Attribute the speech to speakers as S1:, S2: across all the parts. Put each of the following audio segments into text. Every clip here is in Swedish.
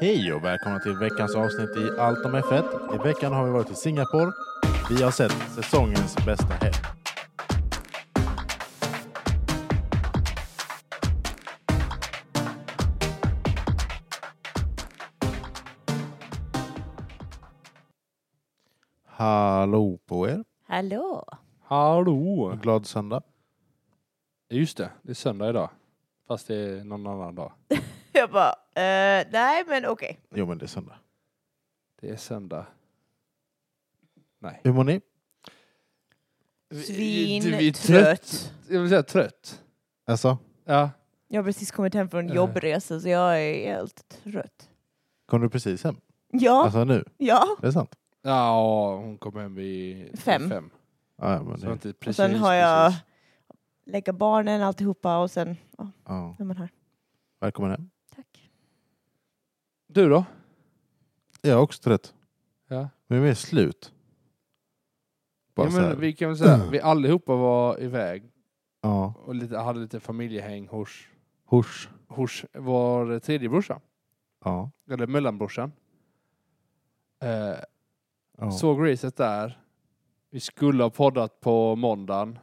S1: Hej och välkomna till veckans avsnitt i Allt om F1. I veckan har vi varit i Singapore. Vi har sett säsongens bästa helg. Hallå på er.
S2: Hallå!
S3: Hallå!
S1: Glad söndag.
S3: Just det, det är söndag idag. Fast det är någon annan dag.
S2: Jag bara, eh, nej men okej.
S1: Jo, men det är söndag.
S3: Det är söndag. Nej.
S1: Hur mår ni?
S2: Svin,
S3: Du, vi är
S2: trött.
S3: Jag vill säga trött.
S1: Alltså,
S3: Ja.
S2: Jag har precis kommit hem från en
S3: Eh.
S2: jobbresa så jag är helt trött.
S1: kom du precis hem?
S2: Ja,
S1: Alltså nu?
S2: ja.
S1: Det är sant?
S3: Ja, hon kom hem vid
S2: Fem.
S3: fem.
S1: Ja, ja, men
S3: Så
S1: det,
S3: inte precis,
S2: Och sen har jag
S3: precis.
S2: lägga barnen alltihopa och sen, ja,
S1: ja.
S2: är man här.
S1: Välkommen hem.
S2: Tack.
S3: Du då?
S1: Jag är också trött.
S3: Ja.
S1: Men vi är slut. Bara
S3: ja
S1: så här.
S3: men vi kan väl säga, vi allihopa var iväg
S1: Ja.
S3: och lite, hade lite familjehäng hos,
S1: Hors.
S3: hos vår tredje brorsa.
S1: Ja.
S3: Eller mellanbrorsan. Eh,
S1: ja.
S3: Såg racet där. Vi skulle ha poddat på måndagen.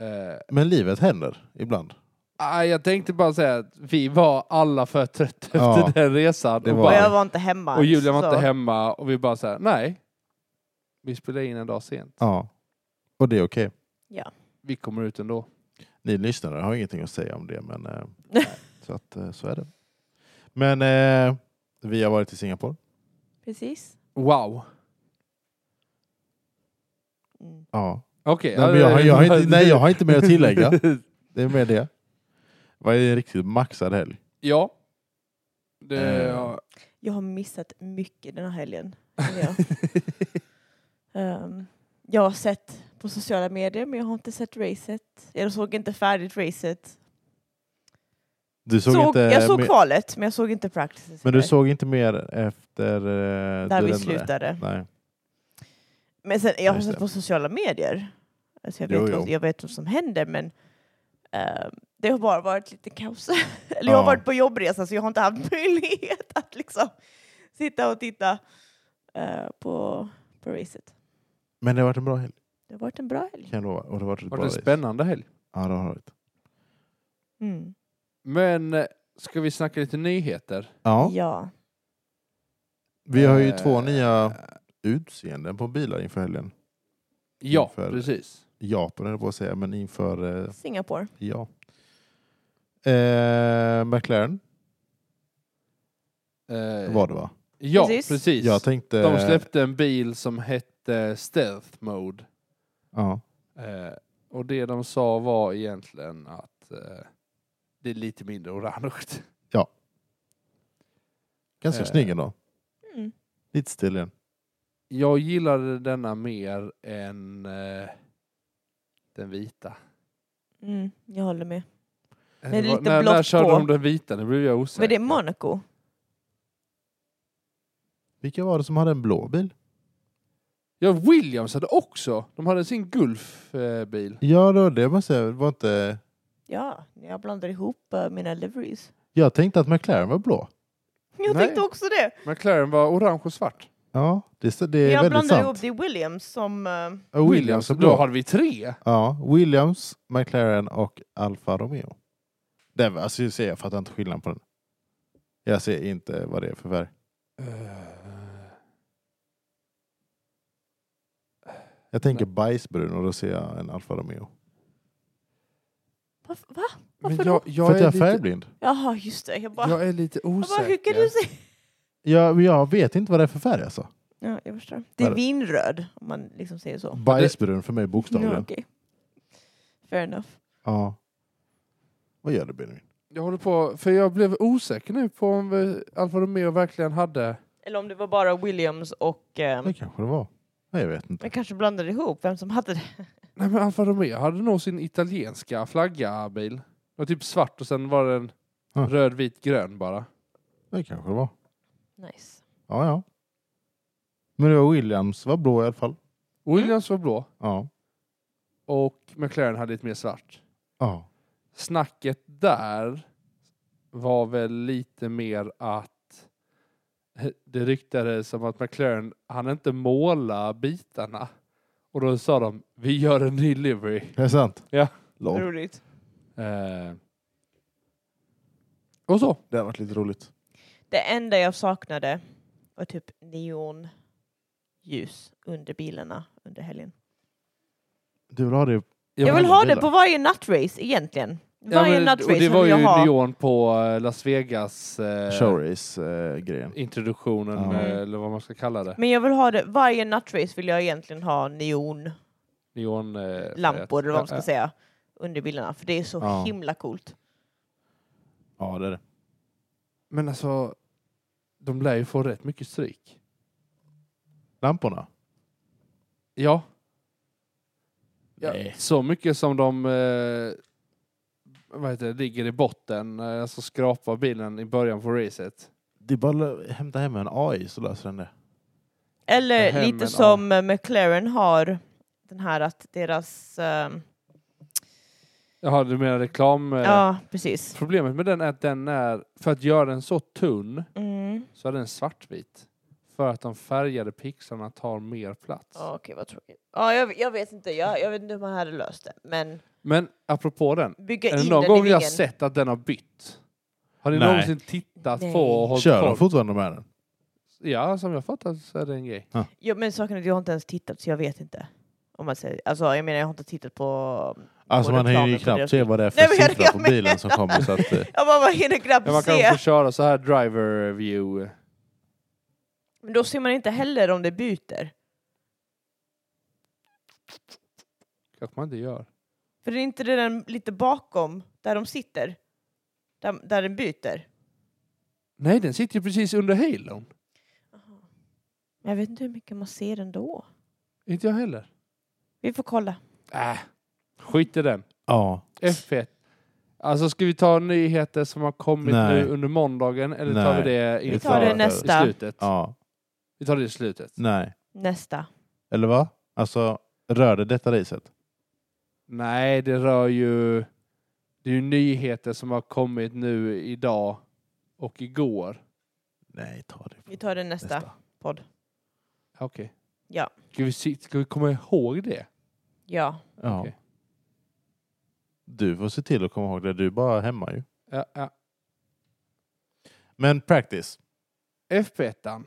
S3: Eh,
S1: Men livet händer ibland.
S3: ah, jag tänkte bara säga att vi var alla för trötta
S1: Ja,
S3: efter den resan.
S1: det
S3: och,
S1: var
S2: Och
S1: vi.
S3: bara,
S2: jag var inte hemma.
S3: och Julia var
S2: så-
S3: inte hemma och vi bara såhär, nej. Vi spelar in en dag sent.
S1: Ja. Och det är okej.
S3: Vi kommer ut ändå.
S1: Ni lyssnare har ingenting att säga om det, men eh, nej. så, att, eh, så är det. Men eh, vi har varit i Singapore.
S2: Precis.
S3: Wow.
S2: Mm.
S1: Ja.
S3: Okej.
S1: Nej, men jag, har- jag, har inte, nej, jag har inte mer att tillägga. Det är mer det. Vad är en riktigt maxad helg?
S3: ja. Det,
S1: Eh.
S2: Jag har missat mycket den här helgen. känner Jag. Ehm, jag har sett på sociala medier men jag har inte sett racet. Jag såg inte färdigt racet.
S1: Du såg,
S2: såg,
S1: inte
S2: jag såg
S1: mer,
S2: kvalet, men jag såg inte practices.
S1: men du
S2: heller,
S1: såg inte mer efter... Eh,
S2: där
S1: du
S2: vi
S1: lämnade?
S2: slutade.
S1: Nej.
S2: Men sen, jag har
S1: Just
S2: sett
S1: det.
S2: på sociala medier. Alltså jag,
S1: Jo,
S2: vet
S1: jo.
S2: Vad, jag vet vad som händer, men eh, det har bara varit lite kaos. Eller jag har
S1: Ja.
S2: varit på jobbresa, så jag har inte haft möjlighet att liksom sitta och titta eh, på, på racet.
S1: Men det har varit en bra helg,
S2: Det har varit en bra helg.
S1: kan jag lova. Och det har varit ett
S3: var
S1: bra
S3: det en
S1: race.
S3: spännande helg.
S1: Ja, det har det varit.
S2: Mm.
S3: Men eh, ska vi snacka lite nyheter?
S1: Ja.
S2: Ja.
S1: Vi har ju två
S3: Eh,
S1: nya utseenden på bilar inför helgen.
S3: Ja,
S1: inför-
S3: precis.
S1: Japan höll jag på att säga, men inför eh,
S2: Singapore.
S1: ja. Eh, McLaren
S3: Eh,
S1: var det va?
S3: Ja,
S2: Precis.
S3: precis.
S1: Jag tänkte...
S3: De släppte en bil som hette Stealth Mode.
S1: Ja,
S3: Eh, och det de sa var egentligen att eh, det är lite mindre orange.
S1: ganska
S3: Eh.
S1: snygg ändå.
S2: Mm.
S1: Lite stilen.
S3: Jag gillade denna mer än eh, den vita.
S2: Mm, jag håller med. det är
S3: Eller vad-
S2: lite
S3: när, när
S2: blått
S3: körde
S2: på.
S3: de den vita? Nu blev jag osäker.
S2: Men det är Monaco.
S1: Vilka var det som hade en blå bil?
S3: ja, Williams hade också. De hade sin Gulf-bil.
S1: Ja, det var det man säger. Det var inte...
S2: Ja, jag blandar ihop eh, mina liveries.
S1: Jag tänkte att McLaren var blå.
S2: Jag
S3: Nej.
S2: tänkte också det.
S3: McLaren var orange och svart.
S1: Ja, det, det är
S2: Jag
S1: väldigt
S2: blandar
S1: sant.
S2: ihop det är Williams som... eh,
S1: Ja, Williams är
S3: då
S1: blå.
S3: hade vi tre.
S1: Ja, Williams, McLaren och Alfa Romeo. Det var, alltså, jag ser- jag fattar inte skillnaden på den. Jag ser inte vad det är för färg.
S3: Eh,
S1: Jag tänker bajsbrun och då ser jag en Alfa Romeo.
S2: va- va?
S3: Men
S2: Varför då?
S3: jag, jag,
S1: för att
S3: är
S1: jag är
S3: lite,
S1: färgblind.
S2: Jaha, just det. Jag bara,
S3: jag är lite
S2: jag bara
S3: osäker.
S2: hur kan du säga?
S1: Jag, men jag vet inte vad det är för färg alltså.
S2: Ja, jag förstår. Det är
S1: Vadå?
S2: vinröd, om man liksom säger så.
S1: Bajsbrun för mig
S2: Ja,
S1: bokstavligen.
S2: okej. Fair enough.
S1: Ja. Vad gör du Benjamin?
S3: Jag håller på, för jag blev osäker nu på om vi- Alfa Romeo verkligen hade...
S2: Eller om det var bara Williams och... Eh,
S1: Det kanske det var. Nej, jag vet inte.
S2: jag kanske blandade ihop vem som hade det.
S3: Nej men Alfa Romeo hade nog sin italienska flaggabil. Den var typ svart och sen var den
S1: Ja.
S3: röd, vit, grön bara.
S1: Det kanske det var.
S2: Nice.
S1: Ja, ja. Men det var Williams var blå i alla fall.
S3: Williams
S2: Mm.
S3: var blå
S1: Ja.
S3: och McLaren hade lite mer svart.
S1: Ja.
S3: Snacket där var väl lite mer att det ryktades om att McLaren han inte måla bitarna. Och då sa de, vi gör en delivery.
S1: Är det sant?
S3: Ja.
S1: Lol.
S2: Roligt.
S3: Eh. Och så.
S1: Det har varit lite roligt.
S2: Det enda jag saknade var typ neonljus under bilarna under helgen.
S1: Du vill ha det?
S2: Jag vill
S1: men-
S2: ha
S1: bilar.
S2: det på varje nattrace egentligen.
S3: Ja,
S2: Varje
S3: men- och
S2: nattrace
S3: det var
S2: vill
S3: ju
S2: jag ha.
S3: neon på eh, Las Vegas eh,
S1: Showrace-grejen.
S3: introduktionen
S1: Ja.
S3: eh, eller vad man ska kalla det.
S2: Men jag vill ha det, varje nattrace vill jag egentligen ha neonlampor
S3: Neon, eh,
S2: eller vad man ska
S3: Ja,
S2: säga under bilarna för det är så
S1: Ja.
S2: himla coolt.
S1: ja, det är det.
S3: Men alltså, de lär ju få rätt mycket stryk.
S1: Lamporna?
S3: Ja. ja.
S1: Nej.
S3: Så mycket som de eh, vad heter, det, ligger i botten, eh, alltså skrapar bilen i början på racet.
S1: Det är bara att hämta hem en AI så löser den det.
S2: Eller
S3: Hem, men,
S2: lite som eh, McLaren har den här att deras... ehm,
S3: Jaha, du menar reklam? Eh,
S2: ja, precis.
S3: Problemet med den är att den är, för att göra den så tunn
S2: Mm.
S3: så är den svartvit. För att de färgade pixlarna tar mer plats.
S2: Ja, Ah, Okej, vad tråkigt. Ja, jag, jag vet inte. Jag, jag vet inte hur man hade löst det. Men
S3: Men apropå den,
S2: bygga
S3: är det
S2: in
S3: någon
S2: den
S3: gång
S2: i
S3: ni har
S2: väggen.
S3: sett att den har bytt? Har ni
S1: Nej.
S3: någonsin tittat
S2: Nej.
S3: på och hållit
S1: Kör de
S3: koll?
S1: fortfarande med den?
S3: Ja, som jag fattat så är det en grej.
S2: Jo, men saken är att jag har inte ens tittat så jag vet inte. Om man säger, alltså, jag menar, jag har inte tittat på...
S1: Alltså
S2: på
S1: man hinner
S2: reklamen
S1: ju
S2: på
S1: knappt
S2: deras
S1: se
S2: bil.
S1: vad det är för
S2: Nej, men jag-
S1: siffra på
S2: jag
S1: bilen som
S2: menar-
S1: kommer. Så att, eh,
S2: Jag bara, vad hinner knappt
S3: Ja, man kan
S2: se?
S3: få köra så här driver view.
S2: Men då ser man inte heller om det byter.
S3: kanske man inte gör.
S2: För det är inte det den lite bakom, där de sitter? Där, där den byter?
S3: Nej, den sitter ju precis under halon.
S2: Men Jag vet inte hur mycket man ser ändå.
S3: Inte jag heller.
S2: Vi får kolla.
S3: Äh, skit i den.
S1: ja,
S3: F1. Alltså ska vi ta nyheter som har kommit
S1: Nej.
S3: nu under måndagen eller tar
S1: Nej.
S3: vi det inför
S1: Vi tar det
S2: nästa.
S3: i slutet?
S1: ja,
S3: Vi tar det i slutet.
S1: nej.
S2: Nästa.
S1: Eller vad? Alltså, rör det detta racet?
S3: Nej, det rör ju... Det är ju nyheter som har kommit nu idag och igår.
S1: Nej, ta det.
S2: Vi tar det nästa, podd.
S3: Okej.
S2: Ja.
S3: Ska vi, se- ska vi komma ihåg det?
S2: Ja.
S1: Ja.
S3: Okej.
S1: Du får se till att komma ihåg det. Du är bara hemma ju.
S3: Ja, ja.
S1: Men practice.
S3: FP1.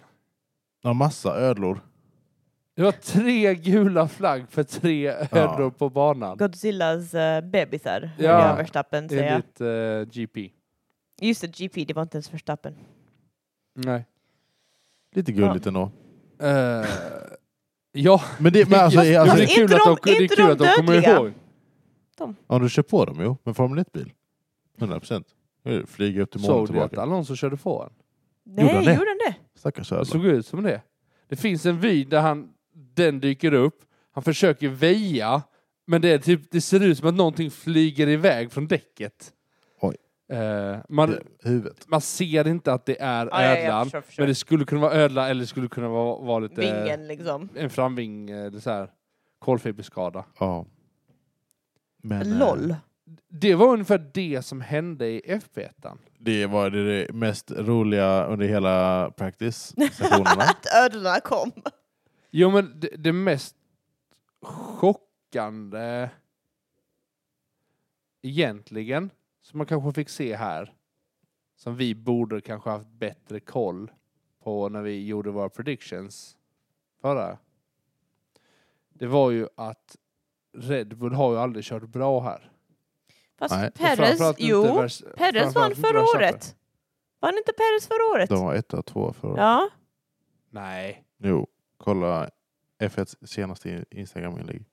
S1: Ja, massa ödlor.
S3: Det var tre gula flagg för tre ödlor på banan.
S2: Godzillas eh, bebisar,
S3: Ja.
S2: ja. Verstappen säger jag.
S3: Enligt uh, GP.
S2: Just det, GP, det var inte ens Verstappen.
S3: Nej.
S1: Lite gulligt ändå.
S3: Eh, ja,
S1: Men, det, men alltså,
S3: Ja,
S1: alltså,
S3: det är kul
S2: inte
S3: att de,
S2: de-
S3: det är
S2: inte
S3: kul
S2: de
S3: att de kommer
S2: dödliga.
S3: ihåg.
S1: om du kör på dem, jo. Med Formel 1-bil. 100 procent. Flyger upp till målet och
S3: Såg du att
S1: tillbaka.
S3: Alonso körde på honom?
S2: Nej,
S1: han det?
S2: gjorde han det?
S1: Stackars
S3: Det
S1: ödlor.
S3: såg ut som det. Det finns en vy där han, den dyker upp, han försöker väja, men det, är typ, det ser ut som att någonting flyger iväg från däcket.
S1: Oj.
S3: Eh, man,
S1: Huvudet.
S3: man ser inte att det är
S2: Ja, ja, jag
S3: ödlan,
S2: förstår, förstår.
S3: men det skulle kunna vara ödla eller det skulle kunna vara, vara lite
S2: Vingen liksom.
S3: en framving, eh, det så här, kolfiberskada.
S1: Ja. Men, eh,
S2: LOL.
S3: Det var ungefär det som hände i FP1.
S1: Det var det mest roliga under hela practice-sessionerna.
S2: Att ödlorna kom.
S3: Jo, men det, det mest chockande egentligen, som man kanske fick se här, som vi borde kanske haft bättre koll på när vi gjorde våra predictions förra, det var ju att Red Bull har ju aldrig kört bra här.
S2: Fast
S1: Nej. Och
S2: Perez,
S3: framförallt inte
S2: jo.
S3: Vers-
S2: Perez
S3: framförallt
S2: vann
S3: inte
S2: förra
S3: Verstappen.
S2: året. Vann inte Perez förra året?
S1: De var etta, tvåa förra året.
S2: Ja.
S3: Nej.
S1: Jo, kolla F1s senaste Instagram-inlägg.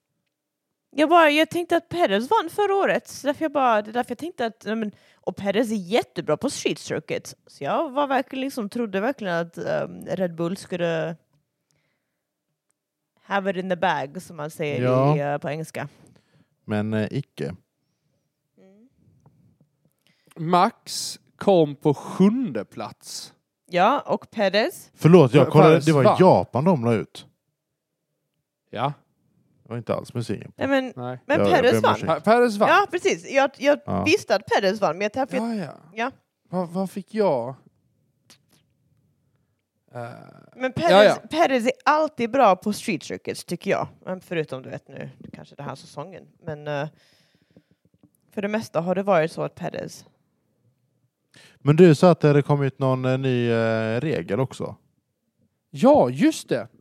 S2: Jag, bara, jag tänkte att Perez vann förra året, så därför jag bara, det är därför jag tänkte att... nej, Men, och Perez är jättebra på street circuit. Så jag var verkligen, liksom, trodde verkligen att ehm, Red Bull skulle have it in the bag, som man säger
S1: Ja.
S2: i, eh, på engelska.
S1: Men eh, icke.
S3: Max kom på sjunde plats.
S2: Ja, och Perez.
S1: Förlåt, jag
S3: För-
S1: kollade.
S3: Fares
S1: Det var
S3: vann.
S1: Japan de la ut.
S3: Ja.
S1: Det var inte alls musiken.
S2: Nej, men
S3: Nej.
S2: men
S1: Ja, jag ber
S2: Perez
S1: om
S2: vann.
S1: ursäkt.
S3: Per- Perez vann.
S2: Ja, precis. Jag, jag
S1: Ja.
S2: visste att Perez vann, men jag, därför jag
S3: Ja, ja.
S2: Ja.
S3: Vad, vad fick jag? Eh,
S2: Men Perez,
S3: Ja, ja.
S2: Perez är alltid bra på street circuits tycker jag. Men förutom du vet nu, kanske den här säsongen. Men eh, för det mesta har det varit så att Perez...
S1: Men du sa att det hade kommit någon eh, ny eh, regel också?
S3: ja, just det!
S1: Med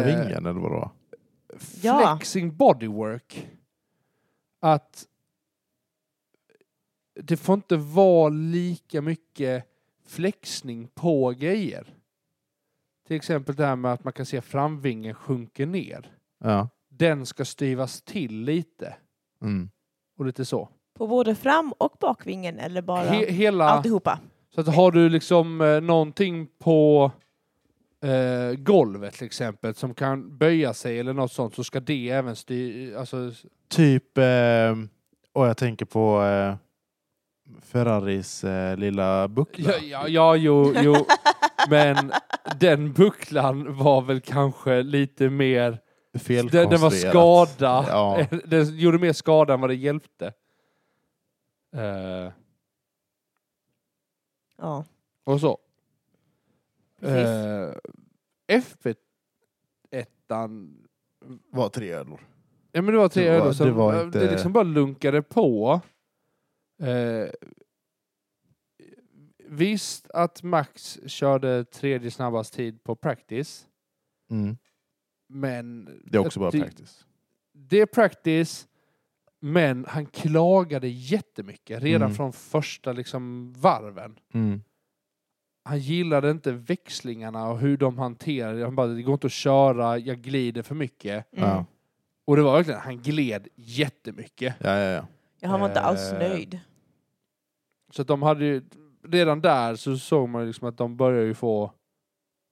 S3: Eh,
S1: ringen eller vadå?
S2: Ja.
S3: flexing bodywork. Att det får inte vara lika mycket flexning på grejer. Till exempel det här med att man kan se framvingen sjunker ner.
S1: Ja.
S3: Den ska styvas till lite
S1: Mm.
S3: och lite så.
S2: På både fram och bakvingen eller bara
S3: He- hela,
S2: alltihopa.
S3: så att har du liksom eh, någonting på eh, golvet till exempel som kan böja sig eller något sånt så ska det även styra, alltså
S1: Typ, eh, och jag tänker på eh, Ferraris eh, lilla buckla.
S3: Ja, ja, ja jo, jo. men den bucklan var väl kanske lite mer... Den,
S1: Felkonstruerat.
S3: den var skada.
S1: Ja.
S3: Den gjorde mer skada än vad det hjälpte. Eh,
S2: Ja,
S3: och så. Eh,
S2: precis.
S3: F1
S1: var tre ödlor.
S3: Ja men det var tre
S1: Det var-
S3: öl som
S1: det
S3: det,
S1: var inte-
S3: det liksom bara lunkade på. Eh, visst att Max körde tredje snabbast tid på practice,
S1: Mm.
S3: men
S1: Det är också bara
S3: Det-
S1: practice.
S3: det är practice, men han klagade jättemycket redan
S1: Mm.
S3: från första liksom varven.
S1: Mm.
S3: Han gillade inte växlingarna och hur de hanterade det. Han bara, det går inte att köra, jag glider för mycket.
S2: Mm.
S1: Ja.
S3: Och det var verkligen, han gled jättemycket.
S1: Ja, ja, ja.
S2: Ja, han var inte alls
S3: Eh,
S2: nöjd.
S3: Så att de hade ju, redan där så såg man ju liksom att de började ju få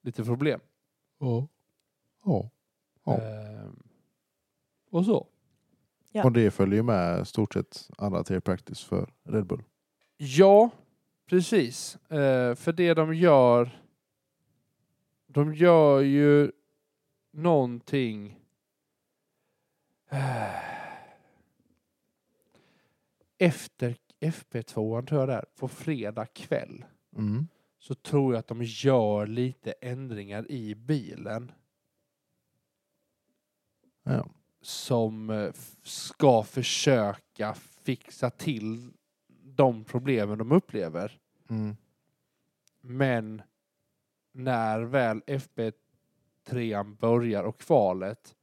S3: lite problem.
S1: Oh. Oh. Ja.
S3: Ehm, och så.
S2: Ja.
S1: Och det följer ju med stort sett alla tre practice för Red Bull.
S3: Ja, precis. Eh, för det de gör, de gör ju någonting... Eh, Efter FP2 tror jag det är, på fredag kväll
S1: Mm.
S3: så tror jag att de gör lite ändringar i bilen
S1: Ja.
S3: som eh, f- ska försöka fixa till de problemen de upplever.
S1: Mm.
S3: Men när väl FB3 börjar och kvalet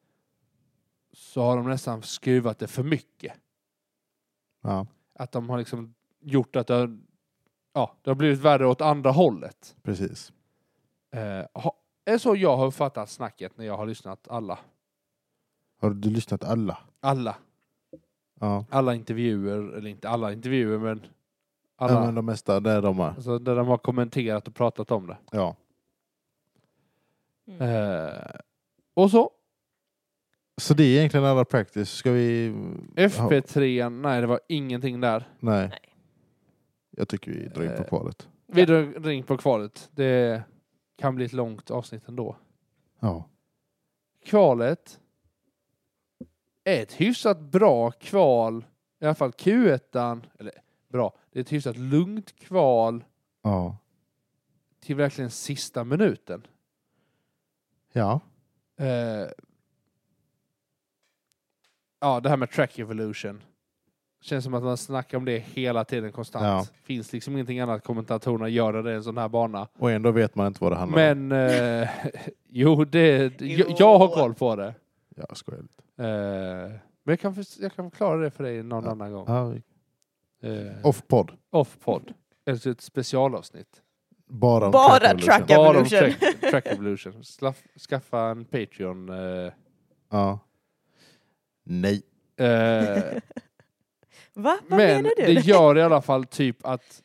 S3: så har de nästan skruvat det för mycket.
S1: ja,
S3: Att de har liksom gjort att det har, ja, det har blivit värre åt andra hållet.
S1: precis.
S3: Eh, ha, är så jag har uppfattat snacket när jag har lyssnat alla.
S1: Har du lyssnat alla?
S3: Alla.
S1: Ja.
S3: Alla intervjuer, eller inte alla intervjuer men alla.
S1: Alla. De mesta, det är de här.
S3: Alltså där de har kommenterat och pratat om det.
S1: Ja.
S2: Mm.
S3: Eh, och så
S1: Så det är egentligen alla practice. Ska vi...
S3: FP3, nej det var ingenting där.
S1: Nej.
S2: Nej.
S1: Jag tycker vi drar in på
S3: Eh.
S1: kvalet.
S3: Vi drar ring på kvalet. Det kan bli ett långt avsnitt ändå.
S1: Ja.
S3: Kvalet är ett hyfsat bra kval, i alla fall Q1, eller bra, det är ett hyfsat lugnt kval
S1: Ja.
S3: till verkligen sista minuten.
S1: Ja.
S3: Eh, ja, det här med track evolution. Känns som att man snackar om det hela tiden konstant.
S1: Ja.
S3: Finns liksom ingenting annat kommentatorerna gör när det är en sån här bana.
S1: Och ändå vet man inte vad det handlar om.
S3: Men eh, jo, det,
S2: Jo.
S3: Jag, jag har koll på det.
S1: Jag skojar lite.
S3: Eh, men jag kan, förs- jag kan förklara det för dig någon
S1: Ja.
S3: annan gång.
S1: Ja, vi...
S3: Eh,
S1: Off-podd.
S3: Off-podd. Alltså ett specialavsnitt.
S1: Bara om liksom.
S2: Bara
S1: Evolution.
S2: track.
S3: Bara om
S2: Evolution.
S3: track, track Evolution. Slaff, skaffa en Patreon. Eh,
S1: Ja. Nej.
S3: eh,
S2: Va? Vad
S3: men
S2: menar du?
S3: det gör i alla fall typ att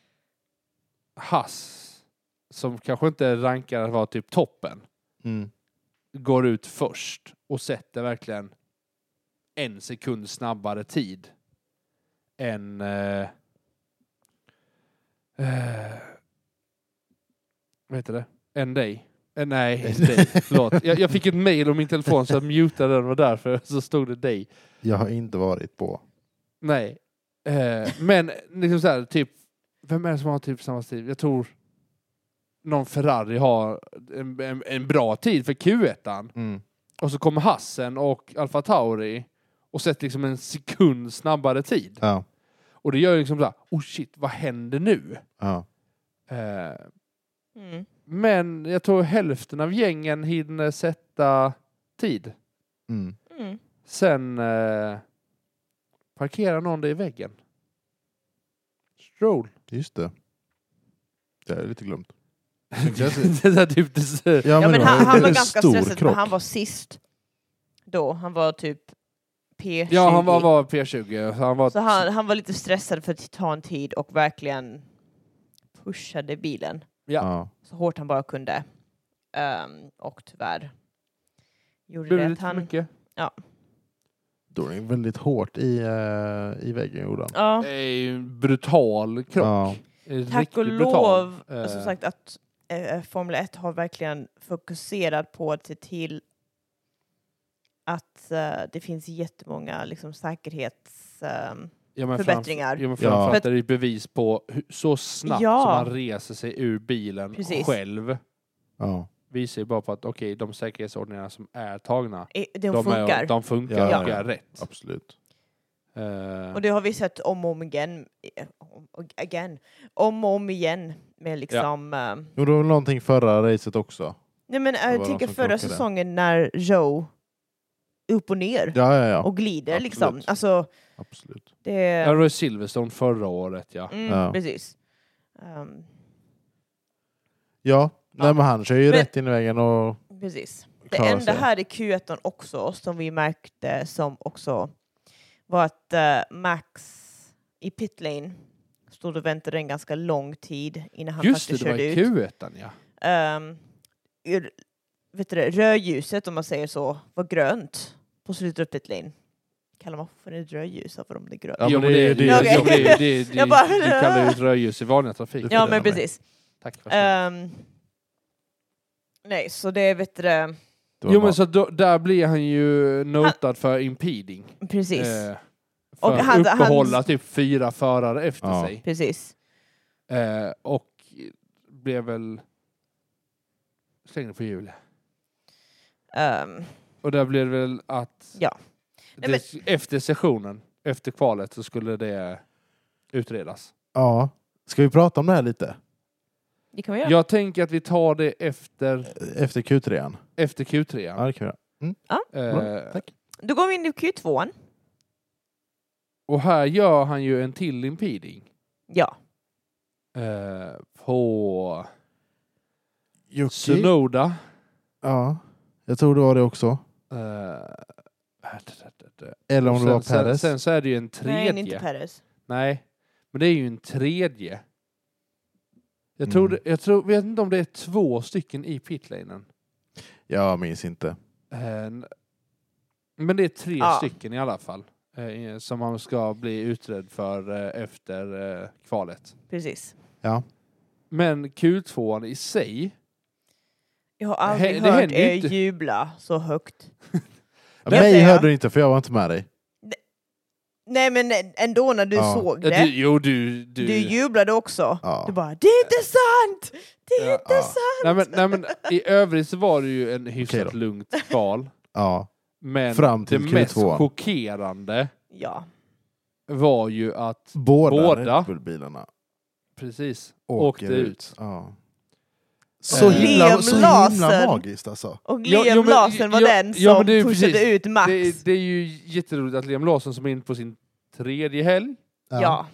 S3: Hass, som kanske inte rankar att vara typ toppen,
S1: Mm.
S3: går ut först och sätter verkligen en sekund snabbare tid än eh, eh, vad heter det? Än dig. Eh, nej, dig. Förlåt. Jag, jag fick ett mail om min telefon så jag mutade den och därför så stod det dig.
S1: Jag har inte varit på.
S3: Nej. Eh, men liksom så här, typ Vem är det som har typ samma stil? Jag tror någon Ferrari har en, en, en bra tid för Q1.
S1: Mm.
S3: Och så kommer Hassen och Alfa Tauri och sätter liksom en sekund snabbare tid.
S1: Ja.
S3: Och det gör ju liksom såhär, oh shit, vad händer nu?
S1: Ja.
S3: Eh,
S2: Mm.
S3: men jag tror hälften av gängen hinner sätta tid.
S1: Mm.
S2: Mm.
S3: Sen eh, parkerar någon det i väggen. Stroll.
S1: Just det. Det är lite glömt.
S3: det är så här typ, det är så-
S2: Ja, men
S1: det
S2: han, han
S1: en
S2: var ganska
S1: stor
S2: stressad, men
S1: krock.
S2: han var sist då. Han var typ P20.
S3: ja, han var, var P20. så Han var
S2: Så han, han var lite stressad för att ta en tid och verkligen pushade bilen
S3: Ja.
S1: Ja.
S2: så hårt han bara kunde. Ehm, och tyvärr gjorde det
S3: Burit
S2: att
S3: för
S2: han...
S3: mycket.
S1: Då är det väldigt hårt i, eh, i väggen gjorde han.
S2: Ja,
S3: Det är ju en brutal kropp.
S1: Ja.
S3: En
S2: tack
S3: riktigt
S2: och
S3: brutal.
S2: lov,
S3: Eh,
S2: som sagt, att eh, Formel 1 har verkligen fokuserat på att se till att eh, det finns jättemånga liksom, säkerhets... ehm,
S3: ja, men
S2: förbättringar.
S3: Framför, ja, men
S1: Ja.
S3: framförallt är det ju bevis på hur, så snabbt
S2: Ja.
S3: som han reser sig ur bilen
S2: Precis.
S3: själv.
S1: Ja.
S3: Visar ju bara på att okej, de säkerhetsordningarna som är tagna,
S2: eh, de,
S3: de,
S2: funkar.
S3: Är, de funkar,
S1: Ja.
S3: funkar rätt.
S1: Absolut.
S3: Eh,
S2: Och det har vi sett om och om igen. eh, om och again. Om och om igen med liksom... eh,
S1: Jo, det var väl någonting förra racet också.
S2: nej men
S1: var
S2: jag
S1: de
S2: tänker
S1: som
S2: förra
S1: krockade.
S2: säsongen när Joe upp och ner
S1: Ja, ja, ja.
S2: och glider
S1: absolut.
S2: liksom. Alltså
S1: Absolut.
S2: det...
S3: Ja, det var ju Silverstone förra året ja.
S2: mm,
S1: Ja.
S2: Precis. Um,
S1: Ja, Nej, men han kör ju
S2: Men-
S1: rätt in i väggen och
S2: precis. Det
S1: klarar
S2: enda
S1: sig.
S2: här i Q1 också som vi märkte som också var att eh, Max i pitlane stod och väntade en ganska lång tid innan han
S3: Just det,
S2: faktiskt
S3: det var
S2: körde
S3: i
S2: ut.
S3: Q1 ja.
S2: ehm, ur- vet du det, rödljuset, om man säger så, var grönt på slutet av pitlane. Kallar man för ett rödljus för om det är grönt?
S1: Ja,
S3: Jo,
S1: men
S3: men
S1: det-
S3: det-
S1: det-
S3: det-
S2: Okej.
S3: jo, det- det-
S2: Jag
S3: det-
S2: bara-
S3: Du kallar ju ett rödljus i vanliga trafik.
S1: Ja,
S2: Ja,
S1: fördelar
S2: men
S1: mig.
S2: precis.
S3: Tack för snällt.
S2: Ehm, nej, så det är vet du det,
S1: Det var
S3: Jo
S1: bra.
S3: men så då, där blir han ju notad för impeding.
S2: precis.
S3: Eh,
S2: Och
S3: för att
S2: han- han-
S3: uppehålla typ fyra förare efter
S1: Ja.
S3: sig.
S2: precis.
S3: Eh, och blev väl slängd på hjulet.
S2: Ehm,
S3: Och där blev det väl att
S2: Ja.
S3: det,
S2: Nej,
S3: efter sessionen, efter kvalet, så skulle det utredas.
S1: Ja. Ska vi prata om det här lite?
S2: det kan vi göra.
S3: Jag tänker att vi tar det efter,
S1: Efter Q3?
S3: efter Q3.
S1: Ja, det kan vi göra.
S3: Eh,
S1: Tack.
S2: Då går vi in i Q2.
S3: och här gör han ju en till impeding.
S2: Ja,
S3: Eh, på
S1: Jocke?
S3: Sunoda.
S1: Ja. Jag tror det var det också.
S3: Eh, äh, t- t- t- t-
S1: Eller om
S3: och
S1: det var
S3: sen, sen,
S1: Perez.
S3: sen så är det ju en
S2: nej,
S3: tredje.
S2: det är inte Perez.
S3: Nej, men det är ju en tredje. Jag tror,
S1: Mm.
S3: det- jag tror, vet inte om det är två stycken i pitlanen.
S1: Jag minns inte.
S3: Eh, n- Men det är tre
S2: Ja.
S3: stycken i alla fall eh, i- som man ska bli utredd för eh, efter eh, kvalet.
S2: Precis.
S1: Ja.
S3: Men Q2 i sig,
S2: Jag har
S3: hä-
S2: aldrig
S3: det
S2: hört
S3: händer ju
S2: er
S3: inte.
S2: jubla så högt.
S1: Ja,
S2: Jag
S1: Mig
S2: säger-
S1: hörde du inte för jag var inte med dig.
S2: Nej, men ändå när du
S1: Ja.
S2: såg
S3: ja, du,
S2: det.
S3: jo du...
S2: Du,
S3: du,
S2: jublade också. Du
S1: Ja.
S2: bara, det är inte sant! Det är
S3: Ja,
S2: inte
S1: ja.
S2: sant!
S3: nej, men, nej, men, I övrigt så var det ju en
S1: Okej
S3: hyfsat
S1: då.
S3: lugnt kval.
S1: ja.
S3: Men
S1: Fram till
S3: det mest
S1: Q2.
S3: chockerande
S2: Ja.
S3: var ju att
S1: Båda,
S3: Båda.
S1: Red Bull-bilarna
S3: precis
S1: åker
S3: åkte ut.
S1: Ja. Så,
S3: Eh,
S1: himla,
S2: Liam
S1: så himla
S2: Larsson.
S1: magiskt alltså.
S2: Och
S3: Ja,
S2: Liam
S3: jo, men-
S2: Larsson var
S3: ja,
S2: den som
S3: ja, men det är ju
S2: pushade
S3: precis-
S2: ut Max.
S3: Det, det är ju jätteroligt att Liam Larsson som är in på sin tredje helg,
S2: ja.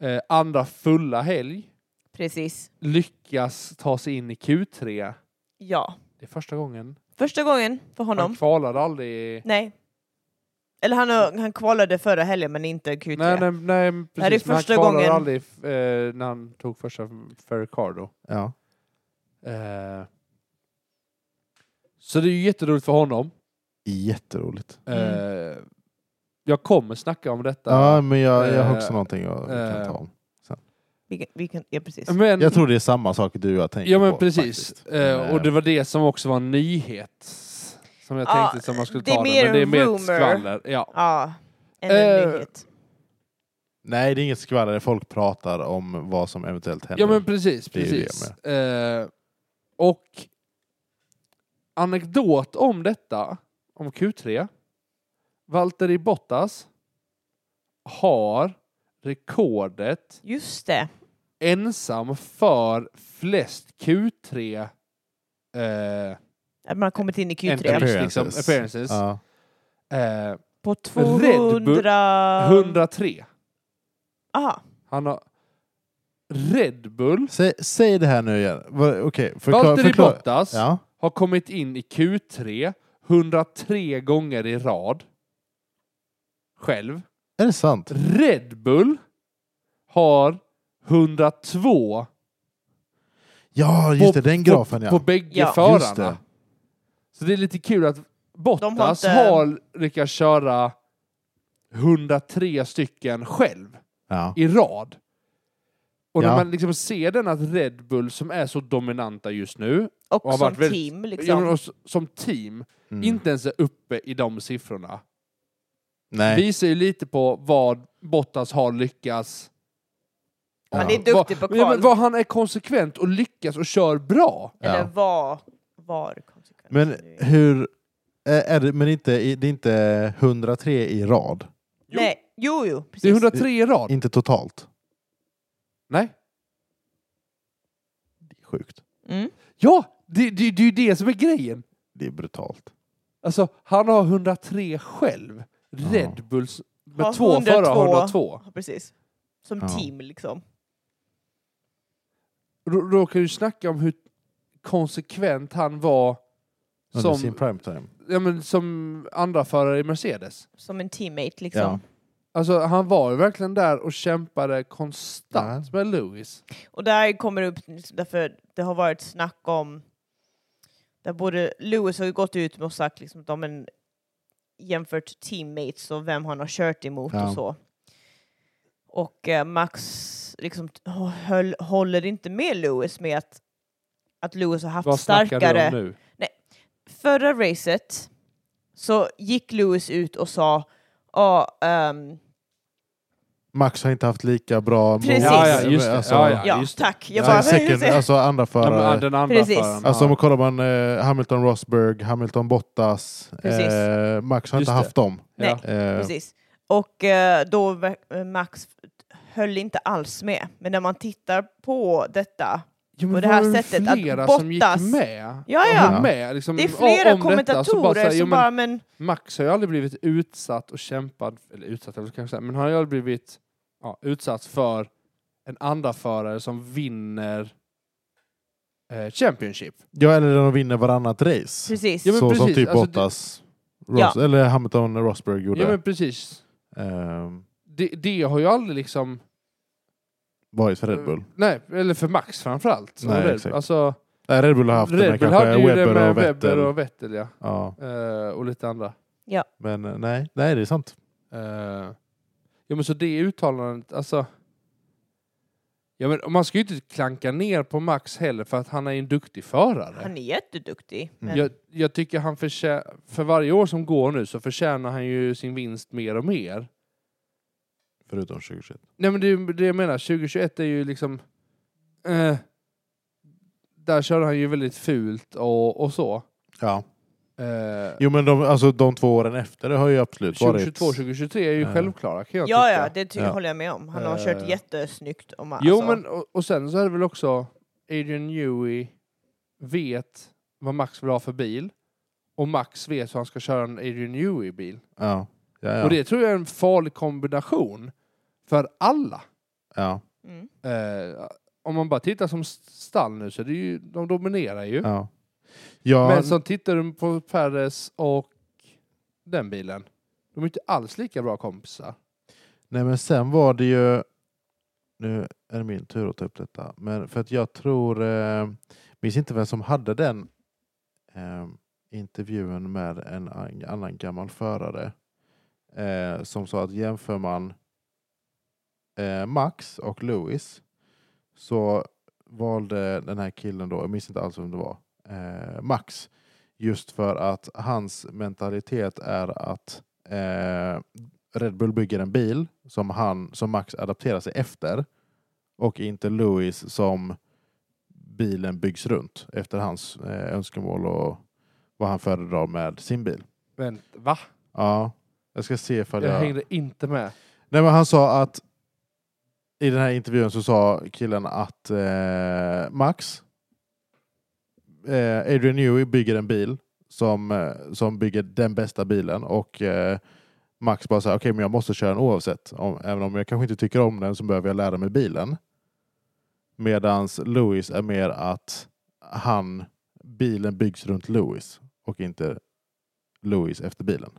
S3: eh, andra fulla helg,
S2: precis.
S3: lyckas ta sig in i Q3.
S2: Ja.
S3: Det är första gången.
S2: Första gången för
S3: Han
S2: honom.
S3: kvalade aldrig.
S2: Nej. Eller han, han kvalade förra helgen men inte Q3.
S3: Nej, nej, nej precis.
S2: Det här är
S3: men
S2: första
S3: han kvalade
S2: gången.
S3: aldrig eh, när han tog första för Ricardo.
S1: Ja.
S3: Eh. Så det är ju jätteroligt för honom.
S1: Jätteroligt.
S3: Eh, jag kommer snacka om detta.
S1: Ja, men jag, jag har också
S3: Eh,
S1: någonting jag kan
S3: eh,
S1: ta om.
S2: Vi, kan- vi kan, ja, precis.
S3: Men,
S1: Jag tror det är samma sak du och jag tänker
S3: eh, ja men
S1: på.
S3: precis.
S1: faktiskt.
S3: Eh,
S1: Men,
S3: och det var det som också var en nyhet. Som jag
S2: Ja,
S3: tänkte som man skulle
S2: det är
S3: ta
S2: mer
S3: den, men det är
S2: en
S3: mer
S2: rumor.
S3: ett skvaller. Ja.
S2: Ja. En uh,
S3: Eh,
S2: nyhet.
S1: Nej, det är inget skvaller. Folk pratar om vad som eventuellt händer.
S3: Ja men precis,
S1: Det är ju det
S3: precis. Eh, och anekdot om detta, om Q3. Valtteri Bottas har rekordet
S2: Just det.
S3: ensam för flest Q3 eh,
S2: Att man har kommit in i Q3
S3: Entry. liksom, appearances.
S1: Ja.
S3: eh,
S2: på
S3: Red Bull,
S2: 200...
S3: 103.
S2: Aha.
S3: Han har Red Bull,
S1: Säg, säg det här nu igen. Vad- Okej, förklara.
S3: Valtteri
S1: förklara.
S3: Bottas
S1: Ja.
S3: har kommit in i Q3 103 gånger i rad. Själv.
S1: Är det sant?
S3: Red Bull har 102
S1: Ja, just
S3: på,
S1: det. Den grafen
S3: på,
S1: ja.
S3: på bägge
S2: Ja.
S1: Just
S3: förarna.
S1: det.
S3: Så det är lite kul att Bottas har,
S2: inte-
S3: lyckats köra 103 stycken själv
S1: ja.
S3: i rad. Och när
S1: Ja.
S3: man liksom ser den att Red Bull som är så dominanta just nu,
S2: Och,
S3: Och har
S2: som
S3: varit väldigt-
S2: team
S3: ja, men
S2: liksom.
S3: och s- som team,
S1: Mm.
S3: inte ens är uppe i de siffrorna.
S1: Nej.
S3: visar ju lite på vad Bottas har lyckats...
S1: Ja. Han
S2: är duktig
S3: vad,
S2: på
S3: Ja,
S2: kval.
S3: men vad han är konsekvent och lyckas och kör bra.
S1: Ja.
S2: Eller var, var konsekvensen
S1: Men
S2: nu är.
S1: hur... Är är det, men inte, i- det är inte 103 i rad?
S2: Nej, jo, jo, precis.
S3: Det är 103 i rad.
S1: Inte totalt?
S3: Nej.
S1: Det är sjukt.
S2: Mm.
S3: Ja, det, det, det är ju det som är grejen.
S1: Det är brutalt.
S3: Alltså, han har 103 själv.
S1: Ja.
S3: Red Bulls med
S2: Har
S3: två
S2: 102.
S3: förare har 102.
S2: Ja, precis. Som
S1: Ja.
S2: team liksom.
S3: Då, då kan du snacka om hur konsekvent han var
S1: Under sin
S3: som,
S1: primetime.
S3: ja, men, som andra förare i Mercedes.
S2: Som en teammate liksom.
S1: Ja.
S3: Alltså, han var ju verkligen där och kämpade konstant med Lewis.
S2: Och där kommer det upp, liksom, därför det har varit snack om, där både Lewis har ju gått ut med och sagt liksom, att de en, jämfört teammates och vem han har kört emot
S1: Ja.
S2: och så. Och eh, Max liksom, t- höll, håller inte med Lewis med att, att Lewis har haft
S3: Vad snackar
S2: starkare...
S3: du om nu?
S2: förra racet så gick Lewis ut och sa ja, ehm,
S1: Max har inte haft lika bra
S2: Precis.
S1: motstånd.
S2: Ja,
S3: ja, just det.
S1: Alltså,
S3: Ja, ja.
S2: ja
S3: just det.
S2: tack. Jag
S1: Jag
S2: bara,
S1: second, alltså andra förare.
S3: den andra
S2: Precis.
S3: föraren,
S1: Alltså
S3: ja.
S1: om man kollar man eh, Hamilton Rosberg, Hamilton Bottas,
S2: Precis.
S1: eh, Max har
S3: Just
S1: inte
S3: det.
S1: haft dem.
S2: Nej.
S1: Eh,
S2: precis. Och eh, då ver- Max höll inte alls med. Men när man tittar på detta,
S3: Ja, men
S2: på det här
S3: var ju
S2: sättet att
S3: flera som gick
S2: Bottas-
S3: med.
S2: Ja,
S3: Och
S2: ja.
S3: höll Med, liksom,
S2: det är flera
S3: om detta, så
S2: kommentatorer
S3: bara så här, jo,
S2: som
S3: men
S2: bara, men
S3: Max har ju aldrig blivit utsatt och kämpad, eller utsatt eller kanske, men han har ju aldrig blivit ja, utsatt för en andra förare som vinner eh, Championship.
S1: ja, eller de vinner varannat race.
S2: precis.
S3: Ja, men
S1: så som
S3: precis.
S1: typ
S3: Alltså, det-
S1: Bottas, Ros- eller Hamilton Rosberg gjorde.
S3: Ja men precis.
S1: Ehm,
S3: Det, det har ju aldrig liksom... eh,
S1: varit för Red Bull.
S3: Nej, eller för Max framförallt.
S1: Nej,
S3: Red,
S1: exakt.
S3: alltså,
S1: Nej, Red Bull har haft det
S3: Red
S1: med
S3: Bull
S1: kanske
S3: hade ju det
S1: Webber
S3: med
S1: och
S3: Webber
S1: Vettel.
S3: och Vettel ja.
S1: Ja,
S3: Eh, och lite andra.
S1: men eh, nej, nej, det är sant.
S3: Uh, ja men så det uttalandet, alltså... Ja men man ska ju inte klanka ner på Max heller för att han är en duktig förare.
S2: Han är
S3: Mm.
S2: jätteduktig. Men,
S3: Jag, jag tycker han förtjänar, för varje år som går nu så förtjänar han ju sin vinst mer och mer.
S1: Förutom 2021.
S3: Nej men det är ju det jag menar, 2021 är ju liksom... eh, där körde han ju väldigt fult och, och så.
S1: Ja.
S3: Eh,
S1: Jo men de, alltså, de två åren efter det har ju absolut
S3: 2022,
S1: varit...
S3: 2023 är ju
S1: Ja.
S3: självklara kan jag
S2: ja,
S3: tycka.
S2: ja, det ty-
S1: Ja.
S2: håller jag med om. Han har
S3: Eh.
S2: kört jättesnyggt. Om,
S3: Jo,
S2: alltså.
S3: men och, och sen så är det väl också Adrian Newey vet vad Max vill ha för bil och Max vet hur han ska köra en Adrian Newey-bil.
S1: Ja. Ja, ja.
S3: Och det tror jag är en farlig kombination för alla.
S1: ja.
S2: Mm.
S3: Eh, om man bara tittar som st- stall nu så är det ju, de dominerar ju.
S1: ja. ja.
S3: Men så tittar du på Perez och den bilen. De är inte alls lika bra kompisar.
S1: Nej men sen var det ju... Nu är det min tur att ta upp detta. Men för att jag tror... Eh, minns inte vem som hade den eh, intervjun med en an- annan gammal förare. Eh, som sa att jämför man eh, Max och Lewis så valde den här killen då, jag minns inte alls vem det var, eh, Max. Just för att hans mentalitet är att eh, Red Bull bygger en bil som, han, som Max adapterar sig efter och inte Lewis som bilen byggs runt efter hans eh, önskemål och vad han föredrar med sin bil.
S3: Vänt, va?
S1: Ja, jag ska se ifall
S3: Jag
S1: jag...
S3: hängde inte med.
S1: Nej, men han sa att i den här intervjun så sa killen att eh, Max, eh, Adrian Newey bygger en bil som, eh, som bygger den bästa bilen och eh, Max bara säger okej men jag måste köra den oavsett. Om, även om jag kanske inte tycker om den så behöver jag lära mig bilen. Medans Lewis är mer att han, bilen byggs runt Lewis och inte Lewis efter bilen.